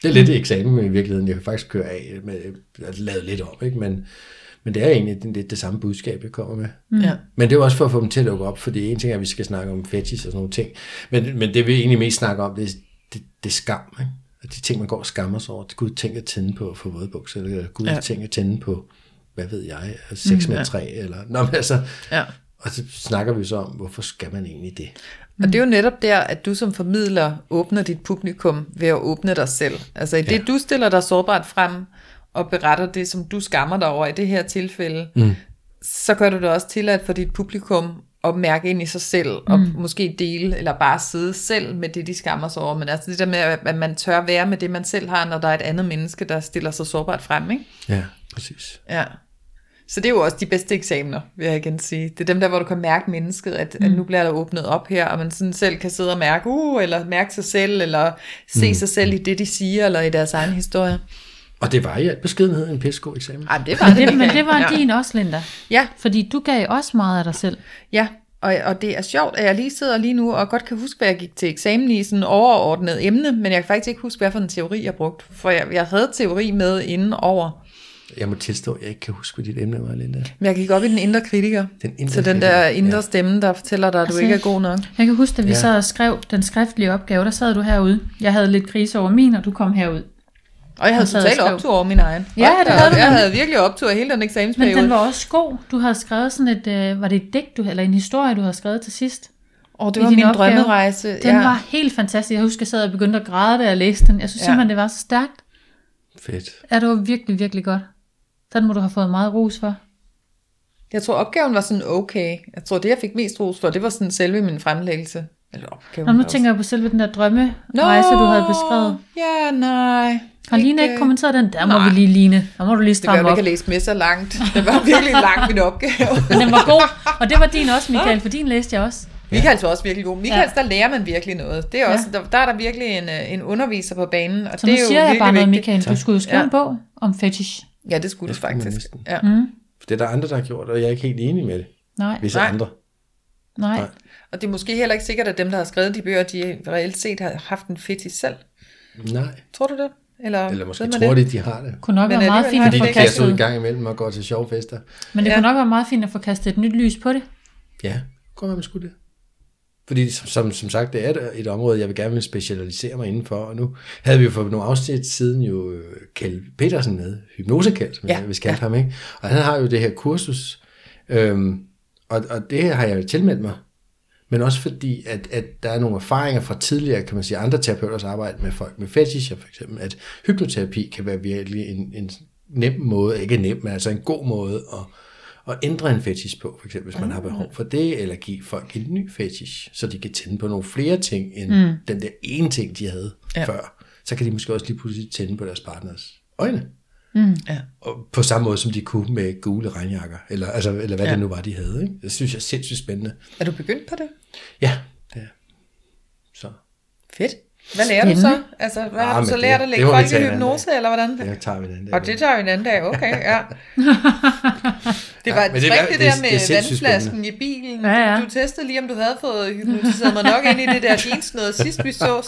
Fordi det er lidt et eksamen men i virkeligheden, jeg kan faktisk køre af, med, altså lave lidt om, ikke? Men, men det er egentlig den- lidt det samme budskab, jeg kommer med.
Mm. Ja.
Men det er jo også for at få dem til at lukke op, fordi en ting er, at vi skal snakke om fetish og sådan nogle ting, men, men det vi egentlig mest snakker om, det er, det, det er skam, ikke? Og de ting, man går og skammer sig over, det kunne tænke at tænde på at få våde bukser, eller kunne ja. tænke at tænde på, hvad ved jeg, 6 med 3, eller... Nå, men altså,
Ja.
og så snakker vi så om, hvorfor skal man egentlig det?
Og det er jo netop der, at du som formidler åbner dit publikum ved at åbne dig selv. Altså i det, ja. du stiller dig sårbart frem og beretter det, som du skammer dig over i det her tilfælde, mm. så gør du det også tilladt for dit publikum at mærke ind i sig selv, og måske dele, eller bare sidde selv med det, de skammer sig over. Men altså det der med, at man tør være med det, man selv har, når der er et andet menneske, der stiller sig sårbart frem, ikke?
Ja, præcis.
Ja. Så det er jo også de bedste eksamener, vil jeg igen sige. Det er dem der, hvor du kan mærke mennesket, at, mm. at nu bliver der åbnet op her, og man sådan selv kan sidde og mærke, uh, eller mærke sig selv, eller se mm. sig selv i det, de siger, eller i deres egen historie.
Og det var i al beskedenhed en pissegod eksamen.
Ej, men det var
Men
det,
det, men
Michael.
det var
ja.
din også, Linda.
Ja,
Fordi du gav også meget af dig selv.
ja. Og, og det er sjovt, at jeg lige sidder lige nu og godt kan huske, hvad jeg gik til eksamen i sådan overordnet emne, men jeg kan faktisk ikke huske, hvad for en teori jeg brugte, for jeg, jeg havde teori med inden over.
Jeg må tilstå, at jeg ikke kan huske, hvad dit emne var, Linda.
Men jeg gik op i den indre kritiker.
Den indre
så den der
kritiker,
indre
ja.
stemme, der fortæller dig, at du
Altså,
ikke er god nok.
Jeg kan huske, da vi
Ja.
ja. så skrev den skriftlige opgave, der sad du herude. Jeg havde lidt krise over min, og du kom herud.
Og jeg havde
sad og
totalt
skrev.
optur over min egen.
Ja,
Hold
det
da
havde
op,
du
Jeg
nemlig.
havde virkelig optur hele den
Men
eksamensperiode.
den var også god. Du havde skrevet sådan et, øh, var det et digt, du, eller en historie, du havde skrevet til sidst?
Åh, det
i
var
din
min
opgave.
drømmerejse.
Den ja. var helt fantastisk. Jeg husker, jeg sad og begyndte at græde, da jeg læste den. Jeg synes
Ja.
ja. simpelthen, det var så stærkt.
Fedt.
Ja, det var virkelig, virkelig godt. Den må du have fået meget ros for.
Jeg tror, opgaven var sådan okay. Jeg tror, det jeg fik mest ros for, det var sådan selve min fremlæggelse. Eller opgaven
Nå, nu
var også-
tænker jeg på selve den der drømmerejse, du havde beskrevet.
Ja, nej.
Har Line ikke kommenteret den? Der må vi lige, Line. Der må du lige
øh, Det gør,
stramme
at jeg
op.
ikke har læst med så langt. Det var virkelig lang min opgave.
Men den var god. Og det var din også, Michael, for din læste jeg også.
Michaels var også virkelig god. Michaels,
Ja.
der lærer man virkelig noget. Det er også, der, der er der virkelig en, øh, en underviser på banen, og
Så
det
nu
er jo
siger jeg
virkelig
bare noget,
vigtigt.
Michael. Du skulle jo skrive
Ja.
en bog om fetish.
Ja, det skulle du
Det skulle man
faktisk.
næsten.
Mm.
Ja.
For det er der andre, der har gjort, og jeg er ikke helt enig med det.
Nej,
Hvis
Nej.
andre.
nej.
Nej.
Og det er måske heller ikke sikkert, at dem, der har skrevet de bøger, de reelt set har haft en fetish selv.
Nej.
Tror du det? Eller,
Eller måske
ved man
tror de, de har det.
Kunne nok
Men
være meget
alligevel
fint
har
at
Fordi
de
få
de kaster ud i
kastet.
gang imellem og går til sjove fester.
Men det
Ja.
kunne nok være meget fint at få kastet et nyt lys på det.
Ja, godt være, man skulle det. Fordi som, som, som sagt, det er et- et område, jeg vil gerne vil specialisere mig indenfor, og nu havde vi jo for nogle afsnit siden jo øh, Kjeld Petersen med, hypnosekald, som ja,
Ja,
jeg vil kalde ja. ham, ikke? og han har jo det her kursus, øhm, og, og det har jeg jo tilmeldt mig, men også fordi, at, at der er nogle erfaringer fra tidligere, kan man sige, andre terapeuters arbejde med folk med fetischer for eksempel, at hypnoterapi kan være virkelig en, en nem måde, ikke nem, men altså en god måde at, at ændre en fetish på, for eksempel, hvis man har behov for det, eller give folk en ny fetish, så de kan tænde på nogle flere ting, end mm. den der ene ting, de havde ja. før. Så kan de måske også lige pludselig tænde på deres partners øjne. Mm,
Ja.
Og på samme måde, som de kunne med gule regnjakker, eller, altså, eller hvad ja. det nu var, de havde. Ikke? Det synes jeg er sindssygt spændende.
Er du begyndt på det?
Ja, det er. Så
Fedt. Hvad lærer du så?
Spændende.
Altså, hvad
Ah,
har du
men
så
det-
lært at
det
lægge
må vi
folk
tage
i
en anden
hypnose, eller hvordan?
jeg tager vi den der.
Og det tager vi en anden dag, okay, ja. Det var
Ja,
ja,
men
et
det er-
trick, det
det er-
der
det er
med
sindssygt
vandflasken i bilen.
Ja, ja.
Du, du testede lige, om du havde fået hypnotiseret mig nok ind i det der jeans noget sidst, vi sås.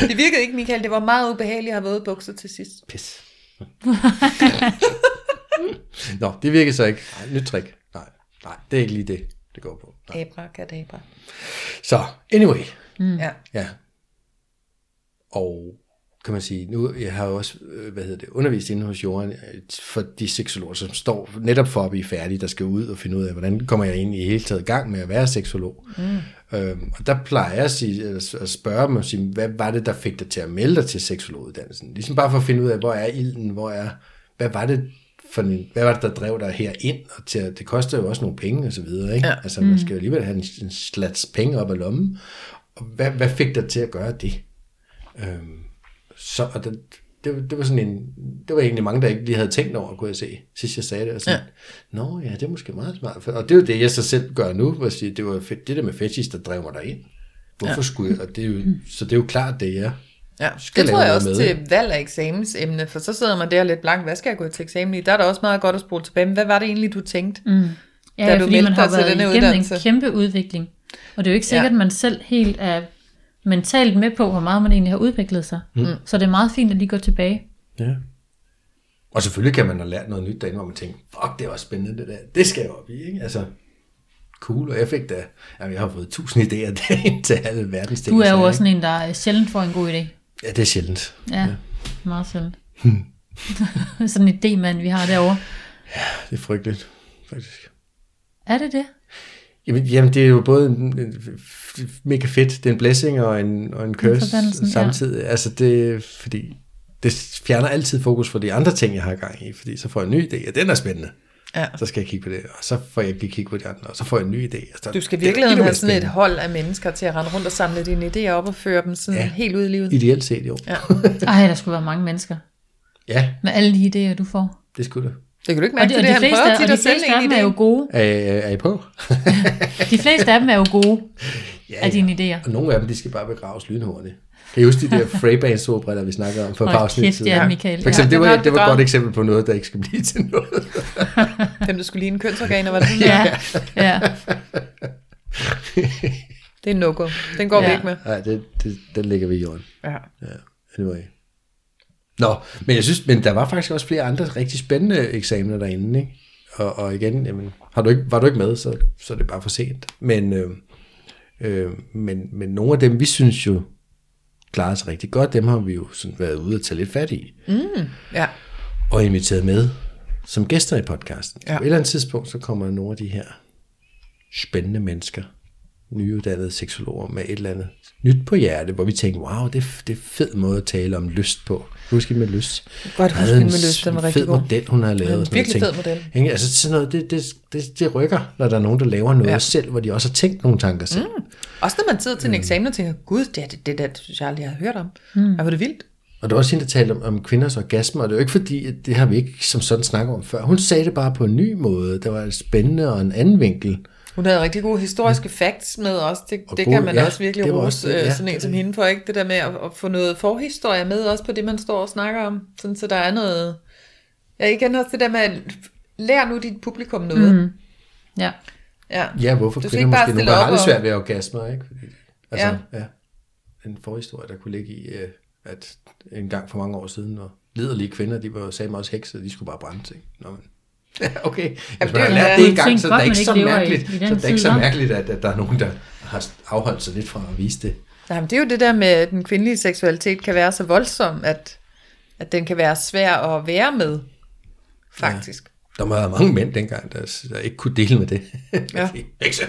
Det virkede ikke, Michael. Det var meget ubehageligt at have våde bukser til sidst.
Pis. Nå, det virker så ikke. Nej, nyt trick. Nej, nej, det er ikke lige det, det går på. Nej.
Abrakadabra.
Så, anyway.
Mm. Ja.
Ja. Og kan man sige, nu jeg har jo også øh, hvad hedder det, undervist inde hos Jorden øh, for de seksologer, som står netop for at blive færdige, der skal ud og finde ud af, hvordan kommer jeg egentlig i hele taget i gang med at være seksolog. Mm. Øhm, og der plejer jeg at, sige, at- at spørge dem, og sige, hvad var det, der fik dig til at melde dig til seksologuddannelsen? Ligesom bare for at finde ud af, hvor er ilden, hvor er, hvad var det, for en, hvad var det, der drev dig herind? Og til, at- det koster jo også nogle penge og så videre, ikke? Ja. Altså, man skal jo alligevel have en, en slats penge op af lommen. Og hvad, hvad fik dig til at gøre det? Øhm, så, og det, det, det, var sådan en, det var egentlig mange, der ikke lige havde tænkt over, kunne jeg se, sidst jeg sagde det. Og sådan, ja. Nå ja, det er måske meget smart. Og det er jo det, jeg så selv gør nu, hvor jeg siger, det var fedt, det der med fetish, der drev mig derind. Hvorfor ja. skulle jeg? Og det er jo,
Mm.
så det er jo klart, det er jeg.
Ja,
Skal
det tror
lave
jeg
noget
også
med,
til valg af eksamensemne, for så sidder man der lidt blank. Hvad skal jeg gå til eksamen i? Der er da også meget godt at spole tilbage. Men hvad var det egentlig, du tænkte? Mm.
Ja,
Da
ja
du
fordi
meldte
man har
dig til
været
denne
igennem
uddannelse.
en kæmpe udvikling. Og det er jo ikke sikkert,
Ja.
at man selv helt er mentalt med på, hvor meget man egentlig har udviklet sig. Mm. Så det er meget fint at lige gå tilbage.
Ja. Og selvfølgelig kan man have lært noget nyt derinde, hvor man tænker, fuck, det er også spændende det der. Det skal jeg op i, ikke? Altså, cool. Og jeg fik da, jamen, jeg har fået tusind idéer derinde til alle verdens ting.
Du er
og
jo
sager,
også sådan en, der øh, sjældent får en god idé.
ikke? Ja, det er sjældent.
Ja, ja. meget sjældent. sådan en idémand, vi har derovre.
Det er frygteligt, faktisk.
Er det det?
Jamen, jamen det er jo både en, en, f- mega fedt, det er en blessing og en, og en curse
forbandelse, ja.
samtidig. Ja. Altså det, fordi det fjerner altid fokus fra de andre ting, jeg har gang i, fordi så får jeg en ny idé, og den er spændende.
Ja.
Så skal jeg kigge på det, og så får jeg ikke lige kigge på de andre, og så får jeg en ny idé. Og så,
Du skal
det er
virkelig have
endnu mere
sådan et
spændende.
hold af mennesker til at rende rundt og samle dine idéer op og føre dem sådan
Ja.
ja. helt ud i livet.
Ideelt set jo. Ja,
Ej, der skulle være mange mennesker.
ja
Med alle de idéer, du får.
det skulle det.
Det kan du ikke
Og
mærke
de,
til
og
det,
de,
han
fleste,
prøver
og
tit
de
at sælge
fleste af
en
dem er jo
idé.
gode.
Er, er er I på?
De fleste af dem er jo gode
Ja,
af dine idéer.
Og nogle af dem, de skal bare begraves lynhurtigt. Kan I huske de der Freybands operater, vi snakker om for et
Hold
par afsnit
kæft,
siden?
ja, Michael.
For eksempel,
Ja,
det,
den
var,
har
det var et
begravet.
godt eksempel på noget, der ikke skal blive til noget.
Dem, der skulle ligne kønsorganer, var det sådan?
Ja, ja.
Det er no-go. Den går ja. vi
Ja.
ikke med.
Nej, det, det, den ligger vi i jorden.
Ja.
Ja, anyway. Nå, men jeg synes, men der var faktisk også flere andre rigtig spændende eksamener derinde, ikke? Og, og igen, jamen, har du ikke, var du ikke med, så, så er det bare for sent. Men, øh, øh, men, men nogle af dem, vi synes jo, klarede sig rigtig godt, dem har vi jo sådan været ude og tage lidt fat i,
Ja.
og inviteret med som gæster i podcasten. Ja.
Ja.
På et eller andet tidspunkt, så kommer nogle af de her spændende mennesker, nyuddannede seksologer med et eller andet nyt på hjerte, hvor vi tænkte, wow, det, er- det er fed måde at tale om lyst på. Husk hende med lyst.
Godt huske
Havde
hende
en
med lyst, den var
fed
rigtig god.
model, hun har lavet.
Ja,
og
virkelig
sådan noget. Jeg
fed model.
Ikke? Altså sådan noget, det, det, det, det rykker, når der er nogen, der laver noget ja.
Ja.
selv, hvor de også har tænkt nogle tanker selv. Mm.
Også når man sidder til en eksamen og tænker, gud, det er det, det der, synes jeg aldrig, jeg har hørt om. Mm. Hvor er det vildt.
Og der var også hende, der talte om, om kvinders orgasmer, og det er jo ikke fordi, at det har vi ikke som sådan snakket om før. Hun sagde det bare på en ny måde. Det var spændende og en anden vinkel.
Hun havde rigtig gode historiske facts med os. Det,
Mm. Og
det
gode-
kan man
ja,
ja, også virkelig
det var
rose
også det,
øh,
ja.
sådan en som hende for, ikke? Det der med at, at få noget forhistorie med også på det, man står og snakker om. Sådan, så der er noget... Ja, igen også det der med, at lær nu dit publikum noget. Mm.
Ja.
Ja.
Ja, hvorfor
Du skal
kvinder
ikke bare
måske nogle
stille
gange
op
har lidt
og-
svært ved orgasmer, ikke? Fordi, altså, ja.
Ja.
ja. En forhistorie, der kunne ligge i, øh, at en gang for mange år siden, når liderlige kvinder, de var sagde mig også hekse, de skulle bare brændes, ikke? Nå, men, ja, okay. Hvis man
det
har
er en-
lært det
en
en gang,
ting
så er
godt,
det ikke
man
så
ikke lever i- i
mærkeligt,
den
så er det
tid,
ikke så
hva'?
mærkeligt, at, at der er nogen, der har afholdt sig lidt fra at vise det.
Nej, men det er jo det der med, at den kvindelige seksualitet kan være så voldsom, at, at den kan være svær at være med, faktisk. Ja.
Der var mange mænd dengang, der, der ikke kunne dele med det.
Ja.
Hekse,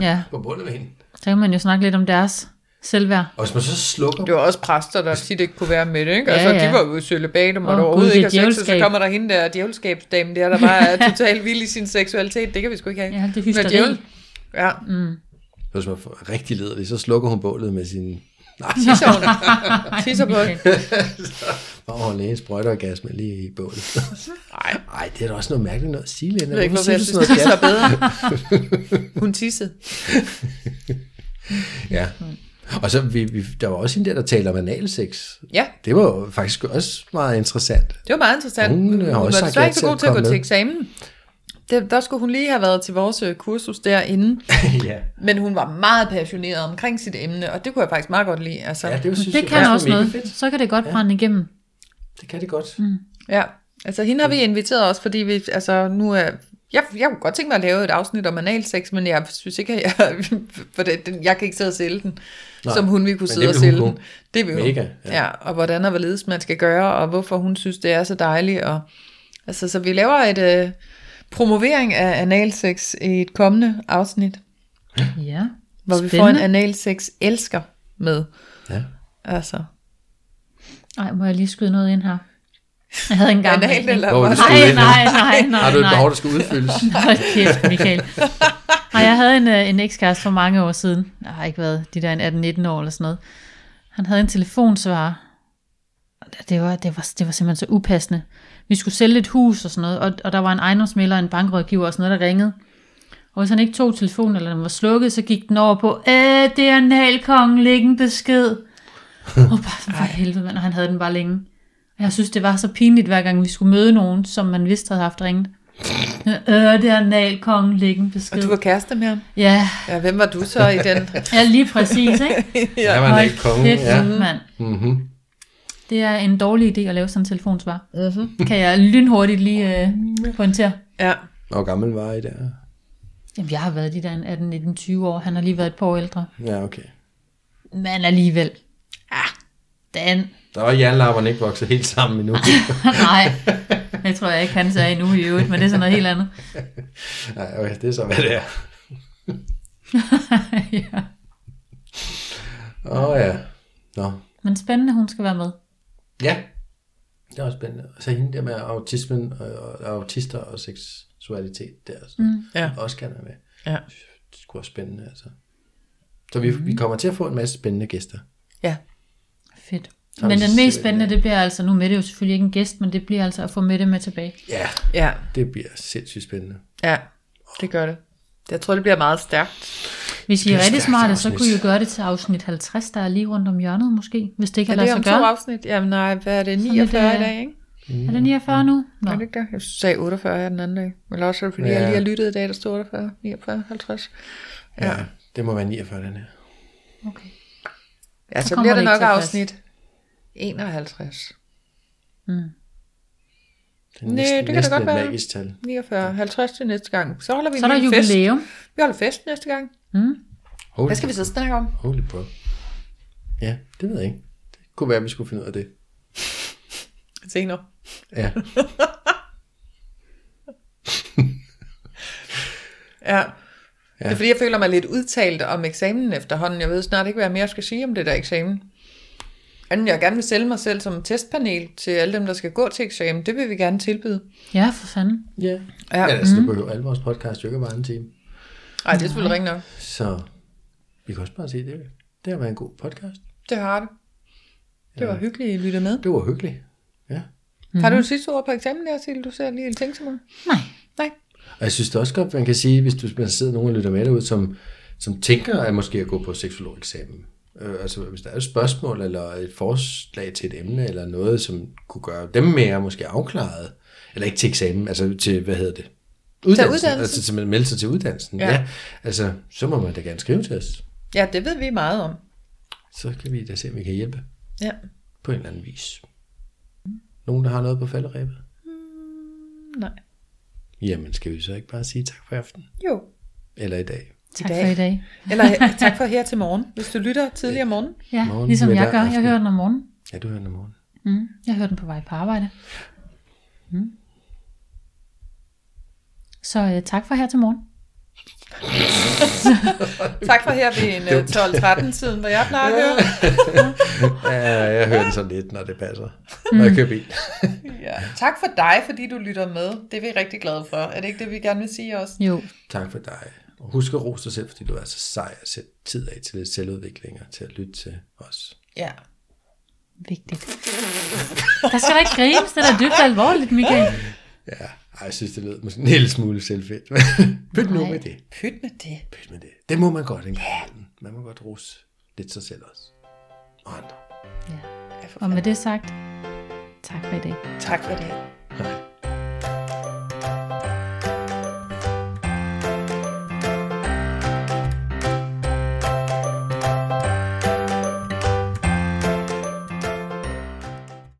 ja.
på bundet med hende.
Så kan man jo snakke lidt om deres selvværd.
Og hvis man så slukker
Det var også præster, der tit ikke kunne være med det, ikke?
Ja,
Altså, ja, ja.
ja.
de var jo i cølibat
Åh,
og måtte
Gud,
oh, overhovedet
det er
ikke have sex, og så
djævelskab.
kommer der hende der djævelskabsdamen der, der bare er totalt vild i sin seksualitet. Det kan vi sgu ikke have.
Ja, det er
Hun
hysteri. Mm.
djævel. Ja,
hvis man får rigtig lederlig, så slukker hun bålet med sin... Nej,
tisser hun. tisser på.
bare holde en sprøjteorgasme lige i bålet.
Nej,
Nej, det er da også noget mærkeligt noget at sige, Linda.
jeg ved ikke,
Hvorfor
hvorfor
siger
jeg
du
synes,
sådan
tisser
noget
er bedre. Hun tissede.
gas? Ja. Og så, vi, vi, der var også en der, der taler om analsex.
Ja,
Det var jo faktisk også meget interessant.
det var meget interessant.
Hun har
Hun, var
også sagt
desværre
ja
ikke så
til at
god til at gå
komme
til
med.
eksamen. Det, der skulle hun lige have været til vores øh, kursus derinde.
ja.
Men hun var meget passioneret omkring sit emne, og det kunne jeg faktisk meget godt lide. Altså,
ja, det synes
Det
jeg
kan
var
også
mega
noget.
Fedt.
Så kan det godt brænde igennem.
Det kan det godt. Mm.
Ja, altså hende har vi inviteret også, fordi vi, altså nu er, jeg, jeg kunne godt tænke mig at lave et afsnit om analsex, men jeg synes ikke, at jeg, for det, den, jeg kan ikke sidde og sælge den,
Nej,
Nej, som hun ville kunne
men
sidde
det
og
vil hun
sælge
kunne.
den. Det vil hun.
Mega, ja.
ja. ja. og hvordan og hvorledes man skal gøre, og hvorfor hun synes, det er så dejligt. Og, altså, så vi laver et øh, promovering af analsex i et kommende afsnit,
Ja.
hvor Spændende. vi får en analsex-elsker med.
Ja.
Altså,
Nej, må jeg lige skyde noget ind her? Jeg havde engang...
anal eller
Hvor var det, du
Nej,
skulle ind nu?
nej, nej, nej,
Har du et
nej.
behov, der skal udfyldes?
Hold kæft, Michael. Og jeg havde en, øh, en ekskæreste for mange år siden. Jeg har ikke været de der en 18-19 år eller sådan noget. Han havde en telefonsvarer. Og Det var, det, var, det var simpelthen så upassende. Vi skulle sælge et hus og sådan noget, og, og der var en ejendomsmælder, en bankrådgiver og sådan noget, der ringede. Og hvis han ikke tog telefonen, eller den var slukket, så gik den over på, Æh, det er analkongen, læg en besked. Og bare sådan, for helvede, mand, og han havde den bare længe. Og jeg synes, det var så pinligt, hver gang vi skulle møde nogen, som man vidste havde haft ringet. Øh, det er analkongen, læg en
og
besked.
du var kæreste med ham.
Ja,
Ja, hvem var du så i den?
ja, lige præcis, ikke?
Ja, man er ikke konge.
kæft,
Ja.
mand. Mm-hmm. Det er en dårlig idé at lave sådan en telefonsvar. Mm-hmm. Kan jeg lynhurtigt lige øh, pointere?
Ja.
Hvor gammel var I der?
Jamen, jeg har været de der 18, 19, 20 år. Han har lige været et par år ældre.
Ja, okay.
Men alligevel. Ah, den.
Der var jernlapperne ikke vokset helt sammen endnu.
Nej, det tror jeg ikke, han sagde endnu i øvrigt, men det er sådan noget helt andet.
Nej, okay, det er så, hvad det er.
ja.
Åh oh, ja. Nå,
Men spændende, hun skal være med.
Ja. Det er også spændende. Og så hende der med autismen og, og autister og seksualitet der. Så mm.
Ja.
Også kan være med.
Ja.
Det skulle også spændende, altså. Så vi, mm. vi kommer til at få en masse spændende gæster.
Ja.
Fedt.
Så er
Men
vi
den mest
simpelthen-
spændende, det bliver altså, nu med det jo selvfølgelig ikke en gæst, men det bliver altså at få Mette med tilbage.
Ja,
Ja,
det bliver sindssygt spændende.
ja, det gør det. Jeg tror, det bliver meget stærkt.
Hvis I er
et
rigtig
stærkt
smarte, så
afsnit.
kunne I jo gøre det til afsnit 50, der er lige rundt om hjørnet måske, hvis det ikke
Er
har
det
lade
om
sig
to
gøre.
afsnit? Jamen nej, hvad er det,
lidt,
49 i
øh,
dag, ikke?
Er det 49 nu? Nå.
Mm. Er det ikke det? Jeg sagde 48 her den anden dag. Men også er det, fordi
Ja.
ja. jeg lige har lyttet i dag, der stod 48, 49, 50.
Ja. ja. Det må være 49, den her.
Okay.
Ja, så,
kommer
bliver
det
det
ikke
nok
til at passe.
afsnit 51.
Det er
Næ,
næsten,
det kan da
næsten
godt
et
være.
magisk tal.
49, 50 til næste gang. Så holder vi
Så er der
lige en fest.
jubilæum.
Vi holder fest næste gang.
Holy,
Hvad skal vi så snakke om?
Holy bro. Ja, det ved jeg ikke. Det kunne være, at vi skulle finde ud af det.
Senere.
Ja.
Ja. Ja. Det er fordi, jeg føler mig lidt udtalt om eksamen efterhånden. Jeg ved snart ikke, hvad jeg mere skal sige om det der eksamen. Anden jeg gerne vil sælge mig selv som testpanel til alle dem, der skal gå til eksamen. Det vil vi gerne tilbyde.
Ja, for fanden.
ja.
Ja. mm-hmm.
Men altså, nu behøver alle vores podcast jo ikke at være en time.
Ej, det er selvfølgelig rigtig nok.
Så vi kan også bare sige, det, det har været en god podcast.
Det har det. Det var hyggeligt, at lytte med.
Det var hyggeligt. Ja.
Mm-hmm. Har du et sidste ord på eksamen der, Sille? Du ser lige en ting til mig.
Nej.
Nej.
Og jeg synes det også godt, man kan sige, hvis du man sidder nogen og lytter med derude, som, som tænker at måske at gå på seksologeksamen. Øh, altså hvis der er et spørgsmål eller et forslag til et emne eller noget, som kunne gøre dem mere måske afklaret, eller ikke til eksamen, altså til, hvad hedder det?
uddannelsen.
Altså til at melde sig til uddannelsen.
Ja.
Ja. ja. Altså, så må man da gerne skrive til os.
Ja, det ved vi meget om.
Så kan vi da se, om vi kan hjælpe
Ja.
på en eller anden vis. Nogen, der har noget på falderæbet?
Nej.
Jamen, skal vi så ikke bare sige tak for aften?
Jo.
Eller i dag?
Tak
I dag.
for i dag.
Eller tak for her til morgen, hvis du lytter tidligere om morgenen.
Ja,
Morgen,
ligesom jeg
middag,
gør. Jeg
aften.
hører den om morgenen.
Ja, du hører den om morgenen.
Mm. Jeg hører den på vej på arbejde. Mm. Så øh, tak for her til morgen.
Tak for her ved en øh, 12-13-tiden, hvor jeg plejer at høre.
Ja, jeg hører den sådan lidt, når det passer. Når jeg kører bil.
Ja. Tak for dig, fordi du lytter med. Det er vi rigtig glade for. Er det ikke det, vi gerne vil sige også?
Jo,
Tak for dig. Og husk at rose dig selv, fordi du er så sej at sætte tid af til lidt selvudvikling og til at lytte til os.
Ja.
vigtigt. Der skal da ikke grines, det er da dybt alvorligt, Michael.
Ja, ej, jeg synes, det lød måske en lille smule selvfedt. Pyt nu
Nej.
med det.
Pyt med det.
Pyt med det. Det må man godt en gang. imellem. Man må godt rose lidt sig selv også. Og andre.
Ja. Og med det sagt, tak for i dag.
Tak for det.
Hej.